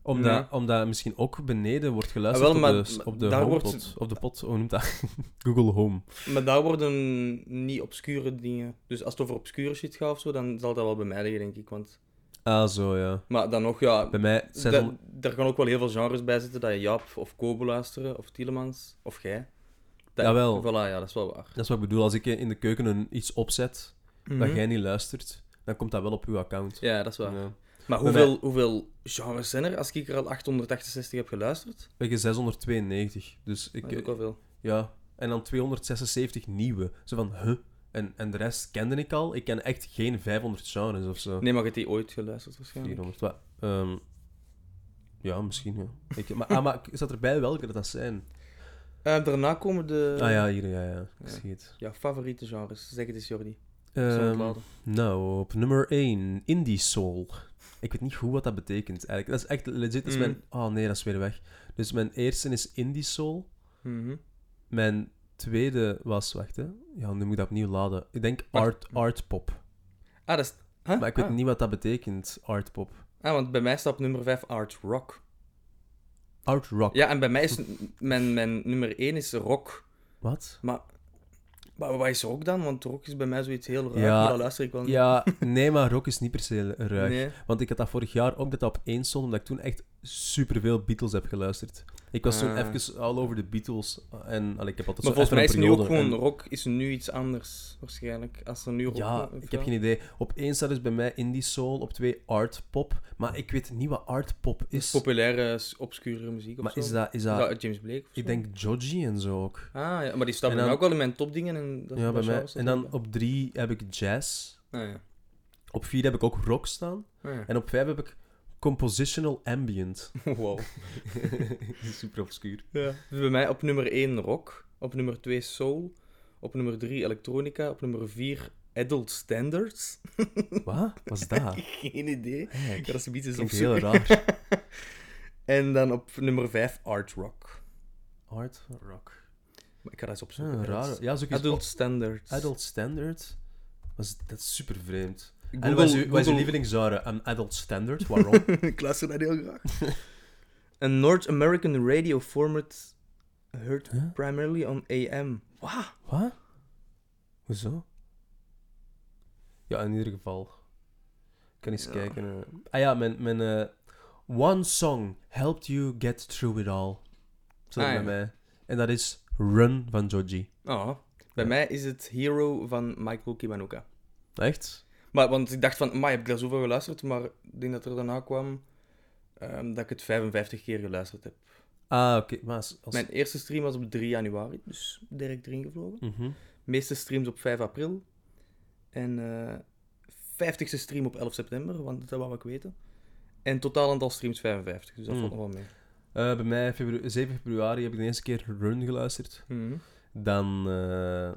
B: Omdat,
A: Ja.
B: omdat misschien ook beneden wordt geluisterd
A: Ah, wel,
B: op
A: maar-
B: de, op de
A: daar
B: HomePod.
A: wordt-
B: Op de pot, hoe noemt dat? Google Home.
A: Maar daar worden niet obscure dingen. Dus als het over obscure shit gaat of zo, dan zal dat wel bij mij liggen, denk ik. Want...
B: Ah, zo ja.
A: Maar dan nog, ja.
B: Bij mij zijn
A: da- daar gaan ook wel heel veel genres bij zitten dat je Jaap of Kobo luisteren, of Tielemans, of jij. Dat,
B: Jawel.
A: Voilà, ja, dat is wel waar.
B: Dat is wat ik bedoel. Als ik eh, in de keuken een, iets opzet dat
A: Mhm.
B: jij niet luistert, dan komt dat wel op uw account.
A: Ja, dat is waar.
B: Ja.
A: Maar
B: Bij
A: hoeveel, hoeveel genres zijn er als ik er al 868 heb geluisterd?
B: Ik heb 692. Dus
A: Dat is ook
B: ik,
A: wel veel.
B: Ja, en dan 276 nieuwe. Zo van, huh? En, en de rest kende ik al. Ik ken echt geen 500 genres of zo.
A: Nee, maar je hebt die ooit geluisterd waarschijnlijk.
B: 400. Wat? Ehm, ja, misschien, ja. Ik, maar, ah, maar staat erbij welke dat, dat zijn?
A: Eh, daarna komen de...
B: ah ja, hier, ja, ja. Ik
A: Ja.
B: zie het.
A: Ja, favoriete genres. Zeg het eens, Jordi.
B: Ehm,
A: ontladen.
B: nou, op nummer 1, Indie Soul. Ik weet niet goed wat dat betekent eigenlijk. Dat is echt legit. Dat is
A: Mm.
B: mijn... Oh nee, dat is weer weg. Dus mijn eerste is Indie Soul.
A: Mhm.
B: Mijn tweede was, wacht hè. Ja, nu moet ik dat opnieuw laden. Ik denk art, art pop.
A: Ah, dat is... Huh?
B: Maar ik weet
A: ah.
B: niet wat dat betekent, art pop.
A: Ah, want bij mij staat op nummer 5 Art Rock.
B: Art rock.
A: Ja, en bij mij is... n- mijn, mijn nummer 1 is rock.
B: Wat?
A: Maar... Maar wat is rock dan? Want rock is bij mij zoiets heel raar.
B: Ja.
A: maar dat luister ik wel niet.
B: Ja, nee, maar rock is niet per se ruig.
A: Nee.
B: Want ik had dat vorig jaar ook dat dat op één stond, omdat ik toen echt superveel Beatles heb geluisterd. Ik was toen
A: Ah.
B: even all over de Beatles. En allee, ik heb altijd
A: Maar
B: zo
A: volgens mij is
B: even
A: nu
B: een
A: ook
B: periode.
A: gewoon rock is nu iets anders, waarschijnlijk. Als er nu rock...
B: Ja,
A: of
B: ik heb
A: zo.
B: geen idee. Op één staat dus bij mij indie soul, op twee art pop. Maar ik weet niet wat art pop is.
A: Populaire, s- obscure muziek of
B: maar
A: zo.
B: is dat, is
A: Is
B: dat,
A: dat James Blake of zo?
B: ik denk Joji en zo ook.
A: Ah, ja, maar die staat
B: En
A: bij mij
B: dan-
A: ook wel in mijn topdingen. En dat
B: ja, bij
A: dat
B: mij.
A: was dat
B: En dan
A: ook.
B: op drie heb ik jazz.
A: Ah, ja.
B: Op vier heb ik ook rock staan.
A: Ah, ja.
B: En op vijf heb ik compositional ambient.
A: Wow.
B: Super obscuur.
A: Ja. Dus bij mij op nummer 1 rock, op nummer 2 soul, op nummer 3 elektronica, op nummer 4 adult standards.
B: Wat? Wat is dat?
A: Geen idee. Ik
B: Heck.
A: ga dat zoiets eens
B: Klinkt heel
A: opzoeken.
B: raar.
A: En dan op nummer 5 art rock.
B: Art rock.
A: Maar ik ga dat eens
B: Ja,
A: opzoeken. Dat
B: Ah, raar.
A: is
B: Ja, zoek eens
A: Adult
B: op-
A: standards.
B: adult standard. Was, dat is super vreemd.
A: Google,
B: En wat is uw- wat is uw
A: Google-
B: lievelingsgenre? Een adult standard? Waarom?
A: ik luister dat heel graag. Een North American radio format heard
B: Huh?
A: primarily on AM.
B: Wat? Hoezo? Ja, in ieder geval. Ik kan eens
A: Ja.
B: kijken. eh. Ah ja, mijn... mijn eh, One song helped you get through it all. Zo
A: Ah,
B: bij
A: ja.
B: mij. En dat is Run van Joji.
A: Oh. Bij
B: Ja.
A: mij is het Hero van Michael Kiwanuka.
B: Echt?
A: Maar, want ik dacht van, maar heb ik daar zoveel geluisterd? Maar ik denk dat er daarna kwam ehm, dat ik het 55 keer geluisterd heb.
B: Ah, oké. Maar als... als...
A: Mijn eerste stream was op 3 januari, dus direct erin gevlogen.
B: Mhm.
A: meeste streams op 5 april. En eh 50ste stream op 11 september, want dat wou ik weten. En totaal aantal streams 55, dus dat
B: Hmm.
A: valt nog wel mee.
B: Eh, bij mij, febru- 7 februari, heb ik de eerste keer Run geluisterd. Dan... eh,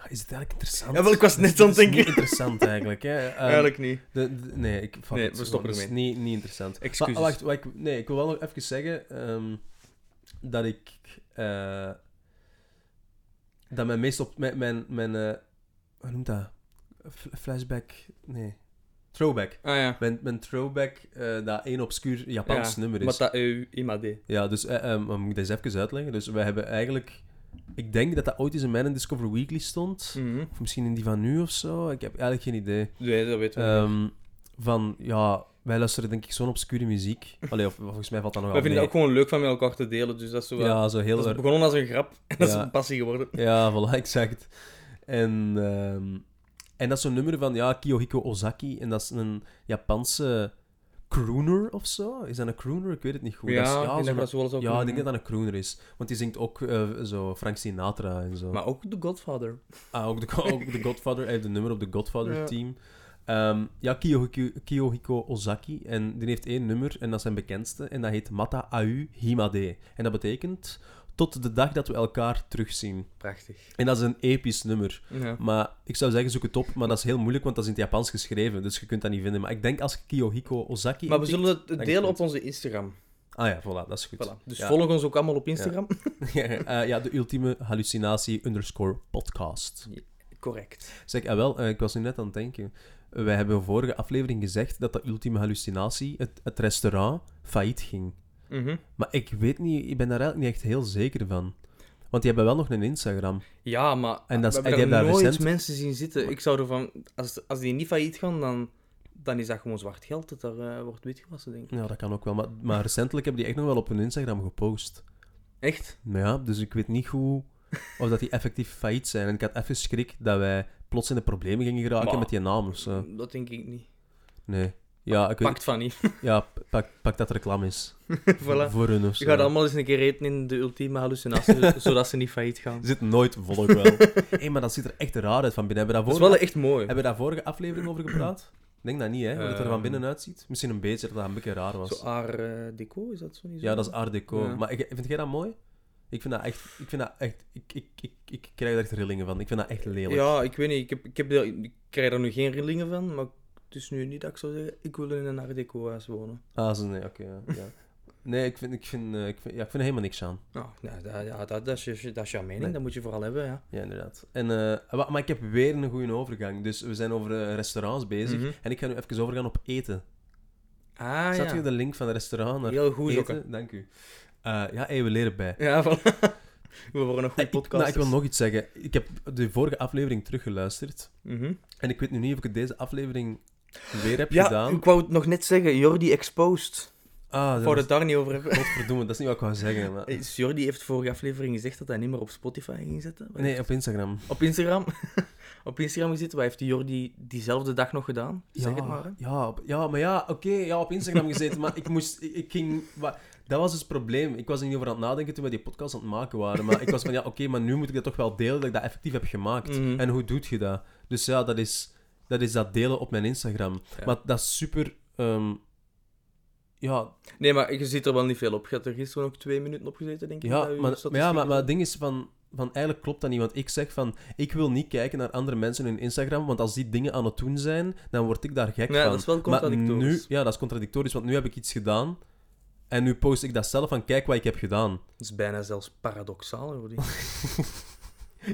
B: ah, Is het eigenlijk interessant?
A: Ja, wel, ik was
B: Dit-
A: net
B: dit
A: aan het
B: is niet
A: denken.
B: interessant eigenlijk, hè. Ehm,
A: Eigenlijk niet.
B: De, de- nee, ik fuck
A: Nee,
B: het,
A: we
B: gewoon,
A: stoppen
B: dat is
A: ermee.
B: Niet, niet interessant.
A: Excuses.
B: Maar, wacht, wacht, nee, ik wil wel nog even zeggen ehm, dat ik. eh, dat mijn meest op. Mijn. mijn, mijn eh, hoe noemt dat? F- flashback. Nee. Throwback.
A: Ah ja,
B: Mijn, mijn throwback, eh, dat één obscuur Japans
A: Ja,
B: nummer is.
A: Mata EU IMAD.
B: Ja, dus eh, ehm, dan moet ik deze even uitleggen. Dus wij hebben eigenlijk. Ik denk dat dat ooit eens in mijn Discover Weekly stond.
A: Hm. Hmm.
B: Of misschien in die van nu of zo. Ik heb eigenlijk geen idee.
A: Nee, Dus dat weten we niet.
B: Ehm, van ja, wij luisteren denk ik zo'n obscure muziek. Allee, of, volgens mij valt dat nog
A: We
B: wel
A: vinden het
B: mee.
A: ook gewoon leuk van met elkaar te delen, dus dat is zo wel...
B: Ja, zo heel
A: dat is
B: erg.
A: begonnen als een grap en dat is
B: Ja.
A: een passie geworden.
B: Ja, voilà, exact. En, ehm, en dat is zo'n nummer van ja, Kiyohiko Ozaki. En dat is een Japanse crooner of zo. Is dat een crooner? Ik weet het niet goed.
A: ja,
B: dat is,
A: ik denk
B: zo'n-
A: dat we dat zo wel eens ook
B: ja, ik denk dat
A: noemen.
B: dat een crooner is. Want die zingt ook eh, zo Frank Sinatra en zo.
A: Maar ook The Godfather.
B: Ah, ook de, ook de Godfather. Hij heeft een nummer op de
A: Ja.
B: Godfather-team. Ja, ja Kiyohiko, Kiyohiko Ozaki. En die heeft één nummer, en dat is zijn bekendste. En dat heet Mata Au Himade. En dat betekent... Tot de dag dat we elkaar terugzien.
A: Prachtig.
B: En dat is een episch nummer.
A: Ja.
B: Maar ik zou zeggen, zoek het op. Maar dat is heel moeilijk, want dat is in het Japans geschreven. Dus je kunt dat niet vinden. Maar ik denk als je Kiyohiko Ozaki...
A: Maar we
B: intikt-
A: zullen het
B: is
A: delen
B: goed.
A: op onze Instagram.
B: Ah ja, voilà. Dat is goed.
A: Voilà. Dus
B: Ja.
A: volg ons ook allemaal op Instagram.
B: Eh, ja, de ultieme hallucinatie underscore podcast.
A: Correct.
B: Zeg, ah wel, eh, ik was nu net aan het denken. Wij hebben vorige aflevering gezegd dat de ultieme hallucinatie, het, het restaurant, failliet ging.
A: Mhm.
B: Maar ik weet niet, ik ben daar eigenlijk niet echt heel zeker van. Want die hebben wel nog een Instagram.
A: Ja, maar
B: En dat is-
A: we
B: en die
A: hebben
B: hebben
A: daar
B: daar
A: nooit
B: recent-
A: mensen zien zitten. Ik zou ervan... Als, als die niet failliet gaan, dan, dan is dat gewoon zwart geld dat daar eh, wordt witgewassen, denk ik.
B: Ja, dat kan ook wel. Maar, maar recentelijk hebben die echt nog wel op hun Instagram gepost.
A: Echt?
B: Maar ja, dus ik weet niet goed of dat die effectief failliet zijn. En ik had even schrik dat wij plots in de problemen gingen geraken
A: Maar-
B: met die naam of zo.
A: Dat denk ik niet.
B: Nee. Ja, ik weet,
A: Pakt van niet.
B: ja pak, pak dat reclame is.
A: voilà.
B: Voor hun of
A: Je
B: zo.
A: gaat allemaal eens een keer eten in de ultieme hallucinatie, zodat ze niet failliet gaan.
B: Er zit nooit volk wel. Hé, maar dat ziet er echt raar uit van binnen. Hebben we
A: Dat
B: daar
A: is
B: vorige,
A: wel echt mooi.
B: hebben we daar vorige aflevering over gepraat? Ik denk dat niet, hè? Hoe het er van
A: Ehm.
B: binnen uitziet. Misschien een beetje, dat dat een beetje raar was.
A: Zo art eh, deco, is dat zo niet zo?
B: Ja, dat is art deco.
A: Ja.
B: Maar ik- vind jij dat mooi? Ik vind dat echt... Ik, vind dat echt, ik, ik, ik, ik krijg daar echt rillingen van. Ik vind dat echt lelijk.
A: Ja, ik weet niet. Ik, heb, ik, heb, daar- ik krijg daar nu geen rillingen van, maar het is nu niet dat ik zou zeggen, ik wil in een art deco huis wonen.
B: Ah, zo, nee, oké. ja, ja. Nee, ik vind, ik, vind, eh, ik, vind, ja, ik vind er helemaal niks aan.
A: Nou, ja, dat, ja, dat, dat, is, je- dat is jouw mening,
B: Nee.
A: dat moet je vooral hebben, ja.
B: Ja, inderdaad. En, eh, wa- maar ik heb weer een goede overgang. Dus we zijn over eh, restaurants bezig.
A: Mhm.
B: En ik ga nu even overgaan op eten.
A: Ah,
B: Zat
A: ja.
B: je de link van het restaurant naar
A: Heel goed,
B: eten?
A: Jokke.
B: Dank u. Eh, ja, hey, we leren bij.
A: Ja, voilà. We worden een
B: Eh,
A: goede
B: Ik, nou,
A: podcast.
B: ik wil nog iets zeggen. Ik heb de vorige aflevering teruggeluisterd. En ik weet nu niet of ik het deze aflevering weer heb
A: Mhm. Ja,
B: gedaan.
A: ik wou het nog net zeggen. Jordi Exposed.
B: Ah,
A: Ik
B: dat
A: wou
B: was...
A: het daar niet over hebben.
B: Godverdomme, dat is niet wat ik wou zeggen. Maar...
A: Eh, Jordi heeft vorige aflevering gezegd dat hij niet meer op Spotify ging zetten. Wat
B: Nee, op Instagram.
A: Op Instagram. op Instagram gezet. Wat heeft Jordi diezelfde dag nog gedaan? Zeg het maar. hè.
B: Ja, op- ja, maar ja, oké, ja, op Instagram gezeten, maar ik moest, ik, ik ging, wa- dat was dus het probleem. Ik was er niet over aan het nadenken toen we die podcast aan het maken waren, maar ik was van, ja, oké, maar nu moet ik dat toch wel delen, dat ik dat effectief heb gemaakt.
A: Mhm.
B: En hoe doet je dat? Dus ja, dat is dat, is dat delen op mijn Instagram.
A: Ja.
B: Maar dat is super, ehm, ja,
A: Nee, maar je zit er wel niet veel op. Je had er gisteren ook twee minuten op gezeten, denk ik.
B: ja,
A: bij uw
B: maar, maar ja,
A: statistieken.
B: maar, maar het ding is van... Van eigenlijk klopt dat niet, want ik zeg van ik wil niet kijken naar andere mensen in Instagram, want als die dingen aan het doen zijn, dan word ik daar gek
A: Ja,
B: van.
A: dat is wel
B: Maar nu,
A: contradictorisch.
B: ja, dat is contradictorisch, want nu heb ik iets gedaan en nu post ik dat zelf van kijk wat ik heb gedaan.
A: Dat is bijna zelfs paradoxaal, Jordi.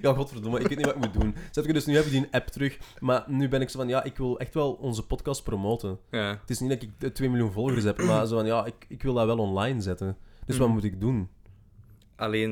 B: Ja, godverdomme, ik weet niet wat ik moet doen. Zet ik dus nu heb ik die app terug, maar nu ben ik zo van ja, ik wil echt wel onze podcast promoten.
A: ja.
B: Het is niet dat ik eh, 2 miljoen volgers heb, maar zo van ja, ik, ik wil dat wel online zetten. Dus wat
A: Mhm.
B: moet ik doen?
A: Alleen...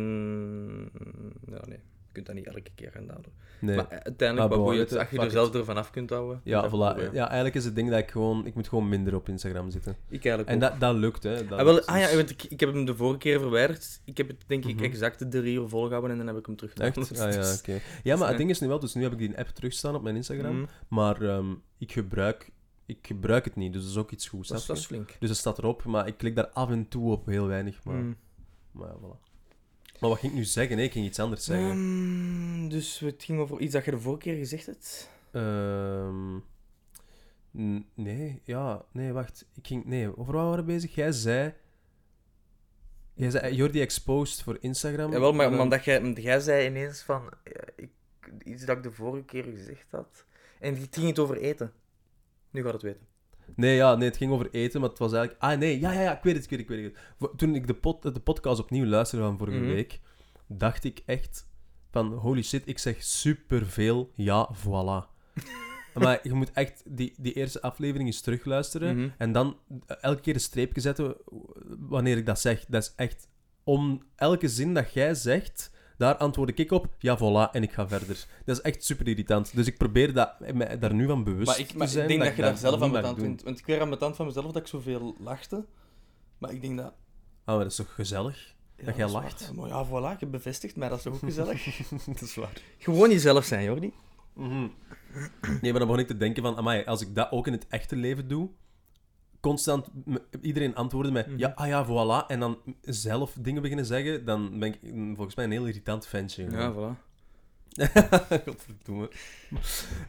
A: Ja, nee. Je kunt dat niet elke keer gaan downloaden.
B: Nee.
A: Maar eh, uiteindelijk,
B: Ah,
A: wat
B: bon,
A: boeit
B: weet
A: het?
B: je,
A: Als je
B: fuck
A: er zelf ervan af kunt houden...
B: ja,
A: dat is
B: voilà.
A: het probleem.
B: ja, eigenlijk is het ding dat ik gewoon... Ik moet gewoon minder op Instagram zitten.
A: Ik eigenlijk
B: En
A: ook.
B: dat, dat lukt, hè. Dat
A: Ah, wel,
B: lukt.
A: ah ja,
B: Dus-
A: want ik, ik heb hem de vorige keer verwijderd. Ik heb het denk ik
B: Mhm.
A: exact drie uur volgehouden en dan heb ik hem terug
B: Echt?
A: gedownload.
B: Ah, ja,
A: Dus-
B: oké. Ja, maar
A: echt-
B: het ding is nu wel, dus nu heb ik die app terugstaan op mijn Instagram.
A: Mhm.
B: Maar ehm, ik, gebruik, ik gebruik het niet, dus dat is ook iets goeds.
A: Dat, is,
B: snap
A: dat
B: je?
A: is flink.
B: Dus het staat erop, maar ik klik daar af en toe op heel weinig. Maar,
A: Mm.
B: maar ja, voilà. Maar wat ging ik nu zeggen? Nee, ik ging iets anders zeggen.
A: Ehm, dus het ging over iets dat je de vorige keer gezegd hebt.
B: Ehm, n- nee, ja, nee, wacht. Ik ging, nee, over wat waren we bezig? Jij zei... Jij zei Jordi Exposed voor Instagram.
A: Jawel, maar
B: dan-
A: omdat jij, want jij zei ineens van... ja, ik, iets dat ik de vorige keer gezegd had. En het ging het over eten. Nu gaat het weten.
B: Nee, ja, nee, het ging over eten, maar het was eigenlijk... Ah, nee, ja, ja, ja, ik weet het, ik weet het, ik weet het. Vo- Toen ik de, pod, de podcast opnieuw luisterde van vorige
A: Mhm.
B: week, dacht ik echt van, holy shit, ik zeg superveel ja, voilà. maar je moet echt die, die eerste aflevering eens terugluisteren
A: Mhm.
B: en dan eh, elke keer een streepje zetten eh, wanneer ik dat zeg. Dat is echt... Om elke zin dat jij zegt, daar antwoord ik op, ja, voilà, en ik ga verder. Dat is echt super irritant. Dus ik probeer dat, mij daar nu van bewust
A: Maar ik, maar
B: Dus te
A: ik
B: zijn.
A: denk dat, je
B: ik
A: daar zelf
B: niet
A: aan
B: mag
A: betaalt.
B: doen.
A: Want, want ik werd aan betaald van mezelf dat ik zoveel lachte. Maar ik denk dat...
B: Ah, maar dat is toch gezellig?
A: ja,
B: Dat jij
A: is
B: lacht.
A: waar. Maar ja, voilà, je bevestigt mij. Dat is toch ook gezellig?
B: dat is waar.
A: Gewoon jezelf zijn, Jordi.
B: Nee, maar dan begon ik te denken van, amai, als ik dat ook in het echte leven doe, constant m- iedereen antwoorden met,
A: Mhm.
B: ja, ah ja, voilà, en dan zelf dingen beginnen zeggen, dan ben ik mm, volgens mij een heel irritant ventje.
A: Ja, voilà.
B: Godverdomme.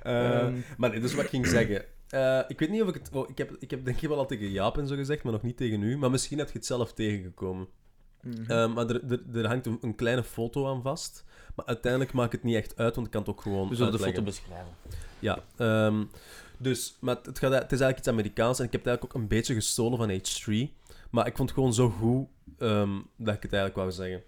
B: Eh,
A: Ehm.
B: Maar nee, dus wat ik ging zeggen. Eh, ik weet niet of ik het... oh, ik, heb, ik heb denk ik wel al tegen Jaap en zo gezegd, maar nog niet tegen u. Maar misschien heb je het zelf tegengekomen.
A: Mhm.
B: Eh, maar er, er, er hangt een, een kleine foto aan vast. Maar uiteindelijk maakt het niet echt uit, want ik kan het ook gewoon
A: We zullen de
B: uitleggen.
A: foto beschrijven.
B: Ja, ehm, dus, maar het, gaat, het is eigenlijk iets Amerikaans en ik heb het eigenlijk ook een beetje gestolen van H3. Maar ik vond het gewoon zo goed ehm, dat ik het eigenlijk wou zeggen.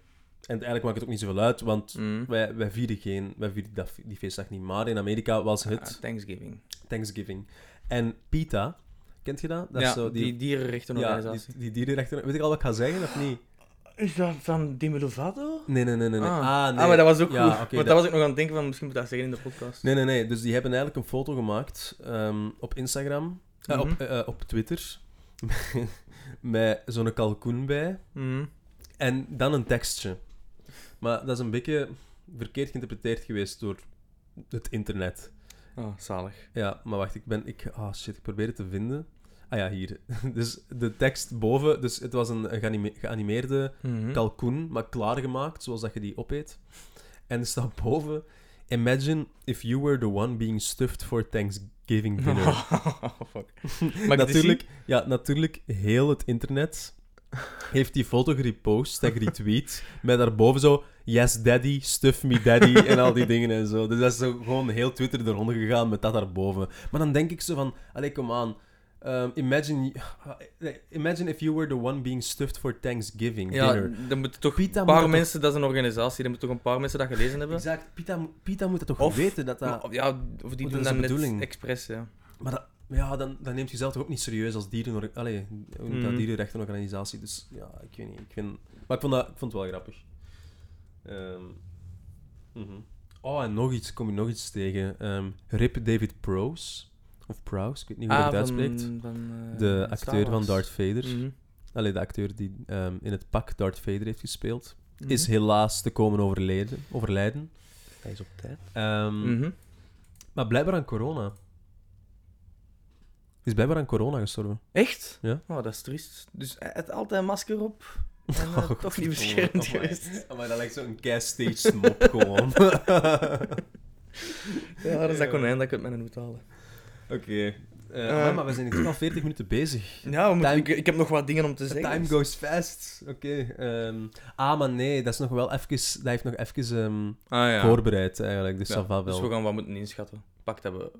B: En eigenlijk maakt het ook niet zoveel uit, want
A: Mm.
B: wij, wij vierden geen, wij vierden dat, die feestdag niet. Maar in Amerika was
A: Ah,
B: het
A: Thanksgiving.
B: Thanksgiving. En PETA, kent je dat? dat is
A: ja,
B: zo
A: die,
B: ja, die,
A: dierenrechtenorganisatie.
B: die dierenrechten. Weet ik al wat ik ga zeggen of niet?
A: Is dat van Demi Lovato?
B: Nee, nee, nee, nee. nee.
A: Ah.
B: Ah, nee.
A: Ah, maar dat was ook
B: Ja,
A: goed.
B: oké,
A: Want
B: dat-
A: dat was ik nog aan het denken van, misschien moet ik dat zeggen in de podcast.
B: Nee, nee, nee. Dus die hebben eigenlijk een foto gemaakt ehm, op Instagram, eh, op,
A: Mhm.
B: eh, op Twitter, met zo'n kalkoen bij
A: Mhm.
B: en dan een tekstje. Maar dat is een beetje verkeerd geïnterpreteerd geweest door het internet.
A: Ah, zalig.
B: Ja, maar wacht, ik ben... Ik, ah, shit, ik probeer het te vinden. Ah ja, hier. Dus de tekst boven, dus het was een geanime- geanimeerde
A: Mhm.
B: kalkoen, maar klaargemaakt, zoals dat je die opeet. En er staat boven... Imagine if you were the one being stuffed for Thanksgiving dinner.
A: Oh, Fuck. Maar
B: natuurlijk, ja, natuurlijk, heel het internet heeft die foto gerepost en geretweet. met daarboven zo... Yes, daddy, stuff me, daddy. en al die dingen en zo. Dus dat is zo gewoon heel Twitter eronder gegaan met dat daarboven. Maar dan denk ik zo van... Allee, kom aan. Ehm, imagine, imagine if you were the one being stuffed for Thanksgiving
A: Ja,
B: dinner.
A: dan moeten toch
B: Pita
A: een
B: moet
A: paar
B: dat
A: mensen... Dat is een organisatie. Dan moeten toch een paar mensen dat gelezen hebben.
B: Exact. Pita, mo- Pita moet het toch
A: Of-
B: weten dat dat...
A: Maar- Ja, of die
B: is
A: doen
B: de
A: dat net
B: bedoeling.
A: expres, ja.
B: Maar dat, ja, dan, dan neemt jezelf toch ook niet serieus als dieren... Allee, hoe noemt dat?
A: Mhm.
B: dierenrechtenorganisatie. Dus ja, ik weet niet. Ik vind, maar ik vond, dat, ik vond het wel grappig. Ehm, mhm. Oh, en nog iets. Kom je nog iets tegen. Ehm, Rip David Prowse. Of Prowse, ik weet niet hoe je
A: Ah,
B: het uitspreekt.
A: van, eh,
B: De
A: Star
B: acteur van
A: Wars.
B: Darth Vader.
A: Mhm.
B: Allee, de acteur die ehm, in het pak Darth Vader heeft gespeeld,
A: Mhm.
B: is helaas te komen overleden. overlijden.
C: Hij is op tijd.
B: Ehm,
A: Mhm.
B: Maar blijkbaar aan corona. Hij is blijkbaar aan corona gestorven.
A: Echt?
B: Ja.
A: Oh, dat is triest. Dus hij had altijd een masker op. En eh,
B: Oh,
A: toch niet
B: godverdomme.
A: beschermd
B: Amai.
A: geweest.
B: Maar dat lijkt zo'n gas stage mop gewoon.
A: Ja, dat is dat konijn dat ik uit mijn moet halen.
B: Oké.
A: Eh.
B: Eh, amai, maar we zijn intussen al 40 minuten bezig.
A: Ja, we moeten-
B: Time-
A: ik, ik heb nog wat dingen om te zeggen.
B: Time goes fast. Oké. ehm, ah, maar nee, dat is nog wel even. Dat heeft nog even ehm,
A: Ah ja.
B: voorbereid eigenlijk. Dus
A: Ja,
B: ja, va wel.
A: Dus we gaan wat moeten inschatten. Pakt hebben we...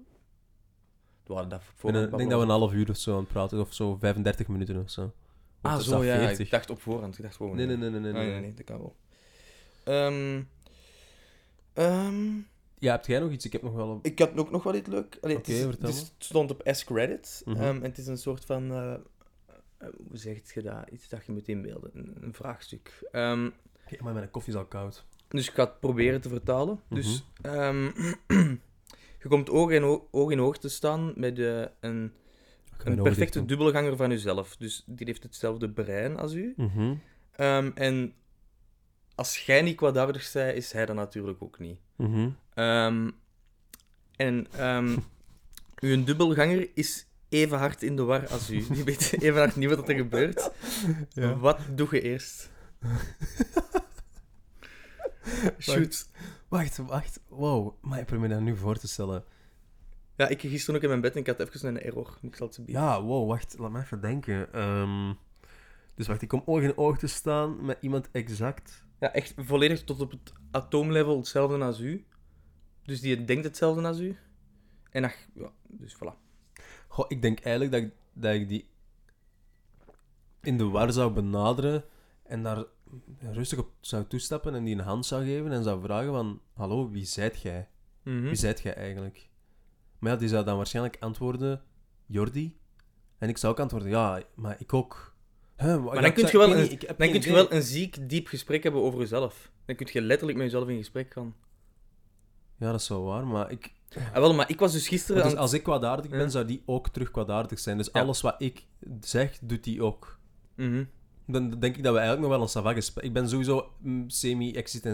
A: We waren dat voor
B: Ik ben- ik denk dat we een half uur of zo aan het praten, of zo 35 minuten of zo. Of
A: Ah,
B: is
A: zo
B: dat
A: ja.
B: 40?
A: Ik dacht op voorhand. Ik dacht gewoon...
B: Nee, nee, nee, nee, nee.
A: Ah, nee,
B: nee.
A: nee, dat kan wel. Ehm, ehm,
B: Ja, heb jij nog iets? Ik heb nog wel een...
A: ik had ook nog wel iets leuk. Allee,
B: Oké,
A: het, is,
B: vertel
A: het, is- het stond op S-Credit.
B: Mhm.
A: ehm, en het is een soort van... eh, eh, hoe zeg je dat? Iets dat je moet inbeelden. Een, een vraagstuk. Ehm,
B: Kijk, maar mijn koffie is al koud.
A: Dus ik ga het proberen te vertalen. Dus
B: Mhm.
A: ehm, je komt oog in oog, oog in oog te staan met eh, een, een perfecte dubbelganger van jezelf. Dus die heeft hetzelfde brein als u.
B: Mhm.
A: Ehm, en als jij niet kwaadaardig zij, is hij dat natuurlijk ook niet.
B: Mhm.
A: Ehm, en ehm uw dubbelganger is even hard in de war als u. Die weet even hard niet wat er gebeurt.
B: Ja.
A: Wat doe je eerst? Shoot.
B: Wacht, wacht. Wow, maar ik probeer me dat nu voor te stellen.
A: Ja, ik ging gisteren ook in mijn bed en ik had even een error. Ik zal het ze bieden.
B: Ja, wow, wacht. Laat me even denken. Ehm, dus wacht, ik kom oog in oog te staan met iemand exact.
A: Ja, echt volledig tot op het atoomlevel hetzelfde als u. Dus die denkt hetzelfde als u. En ach, ja, dus voilà.
B: Goh, ik denk eigenlijk dat ik, dat ik die in de war zou benaderen en daar rustig op zou toestappen en die een hand zou geven en zou vragen van... Hallo, wie zijt jij?
A: Mhm.
B: Wie zijt jij eigenlijk? Maar ja, die zou dan waarschijnlijk antwoorden... Jordi? En ik zou ook antwoorden... Ja, maar ik ook. Hè, wa- ja,
A: dan
B: Oh, ik
A: kun je
B: zou- ik
A: wel
B: weet
A: een-
B: niet, ik heb
A: Dan
B: geen
A: kun je
B: idee.
A: wel een ziek, diep gesprek hebben over jezelf. Dan kun je letterlijk met jezelf in gesprek gaan.
B: Ja, dat is wel waar, maar ik...
A: Ah, wel, maar ik was dus gisteren...
B: Want dus
A: aan-
B: als ik kwaadaardig ben,
A: Ja.
B: zou die ook terug kwaadaardig zijn. Dus
A: Ja.
B: alles wat ik zeg, doet die ook.
A: Mhm.
B: Dan denk ik dat we eigenlijk nog wel een savage gesprek... Ik ben sowieso mm,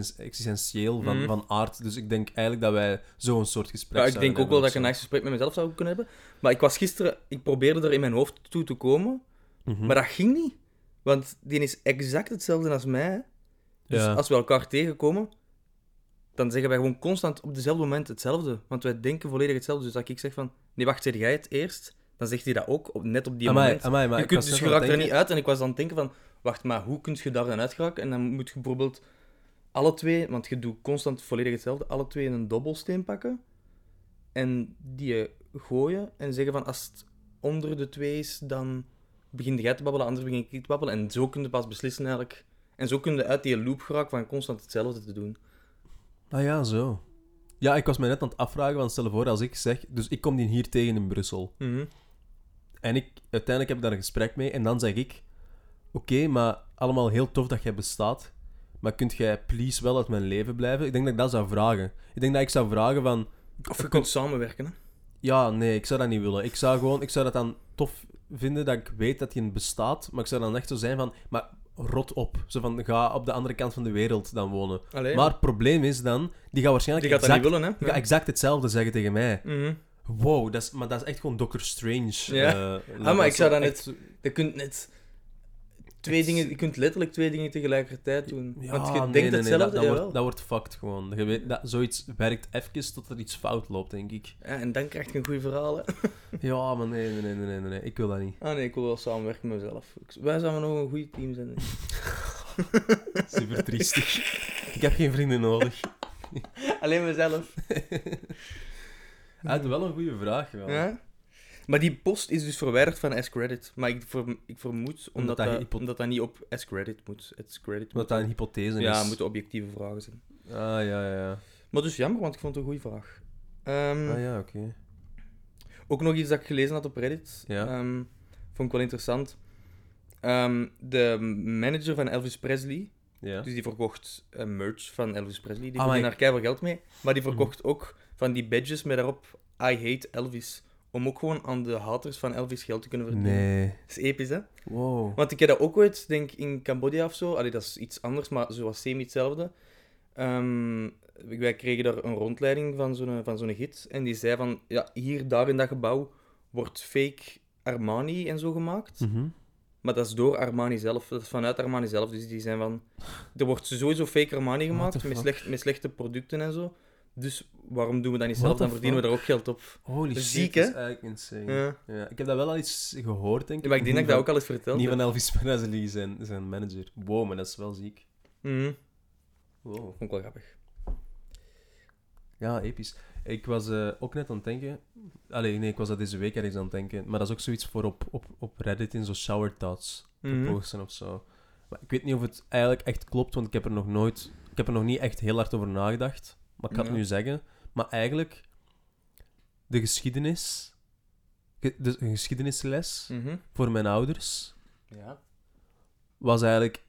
B: semi-existentieel van,
A: Mhm.
B: van aard, dus ik denk eigenlijk dat wij zo'n soort gesprek
A: Ja, ik
B: zouden
A: denk ook wel dat ik een
B: hebben
A: nice gesprek met mezelf zou kunnen hebben. Maar ik was gisteren... Ik probeerde er in mijn hoofd toe te komen,
B: of zo. Mhm.
A: maar dat ging niet. Want die is exact hetzelfde als mij. Dus
B: Ja.
A: als we elkaar tegenkomen, dan zeggen wij gewoon constant op dezelfde moment hetzelfde. Want wij denken volledig hetzelfde. Dus als ik zeg van, nee wacht, zeg jij het eerst? Dan zegt hij dat ook, op, net op die
B: Amai,
A: moment.
B: amai, maar
A: je
B: ik
A: kunt,
B: was
A: dus je
B: net aan
A: raakt er
B: het denken-
A: niet uit. En ik was dan aan het denken van, wacht, maar hoe kun je daar dan uit geraken? En dan moet je bijvoorbeeld alle twee, want je doet constant volledig hetzelfde, alle twee een dobbelsteen pakken en die gooien en zeggen van, als het onder de twee is, dan begin jij te babbelen, anders begin ik te babbelen. En zo kun je pas beslissen eigenlijk. En zo kun je uit die loop geraken van constant hetzelfde te doen.
B: Ah ja, zo. Ja, ik was mij net aan het afvragen, want stel je voor als ik zeg... Dus ik kom die hier tegen in Brussel.
A: Mhm.
B: En ik, uiteindelijk heb ik daar een gesprek mee. En dan zeg ik... Oké, maar allemaal heel tof dat jij bestaat. Maar kunt jij please wel uit mijn leven blijven? Ik denk dat ik dat zou vragen. Ik denk dat ik zou vragen van...
A: Of je kunt samenwerken, hè.
B: Ja, nee, ik zou dat niet willen. Ik zou gewoon... Ik zou dat dan tof vinden dat ik weet dat je bestaat. Maar ik zou dan echt zo zijn van... Maar rot op. Zo van, ga op de andere kant van de wereld dan wonen.
A: Allee,
B: Maar het probleem is dan... Die gaat
A: die
B: waarschijnlijk
A: gaat dat
B: exact,
A: niet willen, hè.
B: die gaat exact hetzelfde zeggen tegen mij.
A: Mhm.
B: Wow, dat is, maar dat is echt gewoon Doctor Strange.
A: Ja. Ah,
B: eh,
A: maar
B: dat
A: ik
B: is
A: zou
B: wel
A: dan
B: echt-
A: Je kunt net twee
B: Het-
A: dingen, je kunt letterlijk twee dingen tegelijkertijd doen.
B: Ja,
A: Want je
B: nee,
A: denkt
B: nee, nee,
A: hetzelfde,
B: dat, dat, wordt,
A: jawel.
B: dat wordt fucked gewoon. Je weet, dat, zoiets werkt even tot er iets fout loopt, denk ik.
A: Ja, en dan krijg je een goed verhaal. hè.
B: Ja, maar nee, nee, nee, nee, nee, nee, nee. ik wil dat niet.
A: Ah nee, ik wil wel samenwerken met mezelf. Ik- Wij zouden nog een goed team zijn.
B: Super triestig. ik heb geen vrienden nodig.
A: Alleen mezelf.
B: Uit wel een goede vraag, wel.
A: Ja? Maar die post is dus verwijderd van S-Credit. Maar ik, verm- ik vermoed, omdat,
B: Omdat dat
A: dat,
B: hypo-
A: omdat dat niet op S-Credit moet. S-Credit
B: Omdat
A: moet.
B: dat een hypothese
A: ja,
B: is.
A: moeten objectieve vragen zijn.
B: Ah, ja, ja, ja.
A: Maar dus jammer, want ik vond het een goede vraag. Ehm,
B: Ah, ja, oké.
A: Ook nog iets dat ik gelezen had op Reddit.
B: Ja.
A: Ehm, vond ik wel interessant. Ehm, de manager van Elvis Presley,
B: Ja.
A: dus die verkocht eh, merch van Elvis Presley. Die
B: Ah, maar Mhm.
A: verdiende
B: ik-
A: daar keihard geld mee. Maar die verkocht ook van die badges met daarop I hate Elvis. om ook gewoon aan de haters van Elvis geld te kunnen verdienen.
B: Nee.
A: Dat is episch, hè?
B: Wow.
A: Want ik heb dat ook ooit, denk ik, in Cambodja of zo. Allee, dat is iets anders, maar zoals semi hetzelfde. Ehm, wij kregen daar een rondleiding van zo'n, van zo'n gids. En die zei van, ja, hier, daar in dat gebouw wordt fake Armani en zo gemaakt.
B: Mhm.
A: Maar dat is door Armani zelf. Dat is vanuit Armani zelf. Dus die zijn van... Er wordt sowieso fake Armani
B: What
A: gemaakt,
B: the
A: met,
B: fuck?
A: slecht, met slechte producten en zo. Dus waarom doen we dat niet zelf?
B: What the Hm.
A: Dan verdienen we daar ook geld op.
B: Holy shit.
A: Ziek,
B: dat
A: hè?
B: is eigenlijk insane.
A: Ja.
B: Ja, ik heb dat wel al iets gehoord, denk ik.
A: Ja, Maar ik denk dat ik dat ook al eens verteld
B: Niet
A: heb.
B: van Elvis Presley, zijn, zijn manager. Wow, maar dat is wel ziek.
A: Mhm.
B: Wow.
A: Vond ik wel grappig.
B: Ja, episch. Ik was eh, ook net aan het denken... Allee, nee, ik was dat deze week ergens aan het denken. Maar dat is ook zoiets voor op, op, op Reddit in zo'n shower thoughts te
A: Mhm.
B: posten of zo. Maar ik weet niet of het eigenlijk echt klopt, want ik heb er nog nooit... Ik heb er nog niet echt heel hard over nagedacht. Maar ik ga het
A: Ja.
B: nu zeggen. Maar eigenlijk, de geschiedenis... ge- De, een geschiedenisles
A: Mhm.
B: voor mijn ouders
A: Ja.
B: was eigenlijk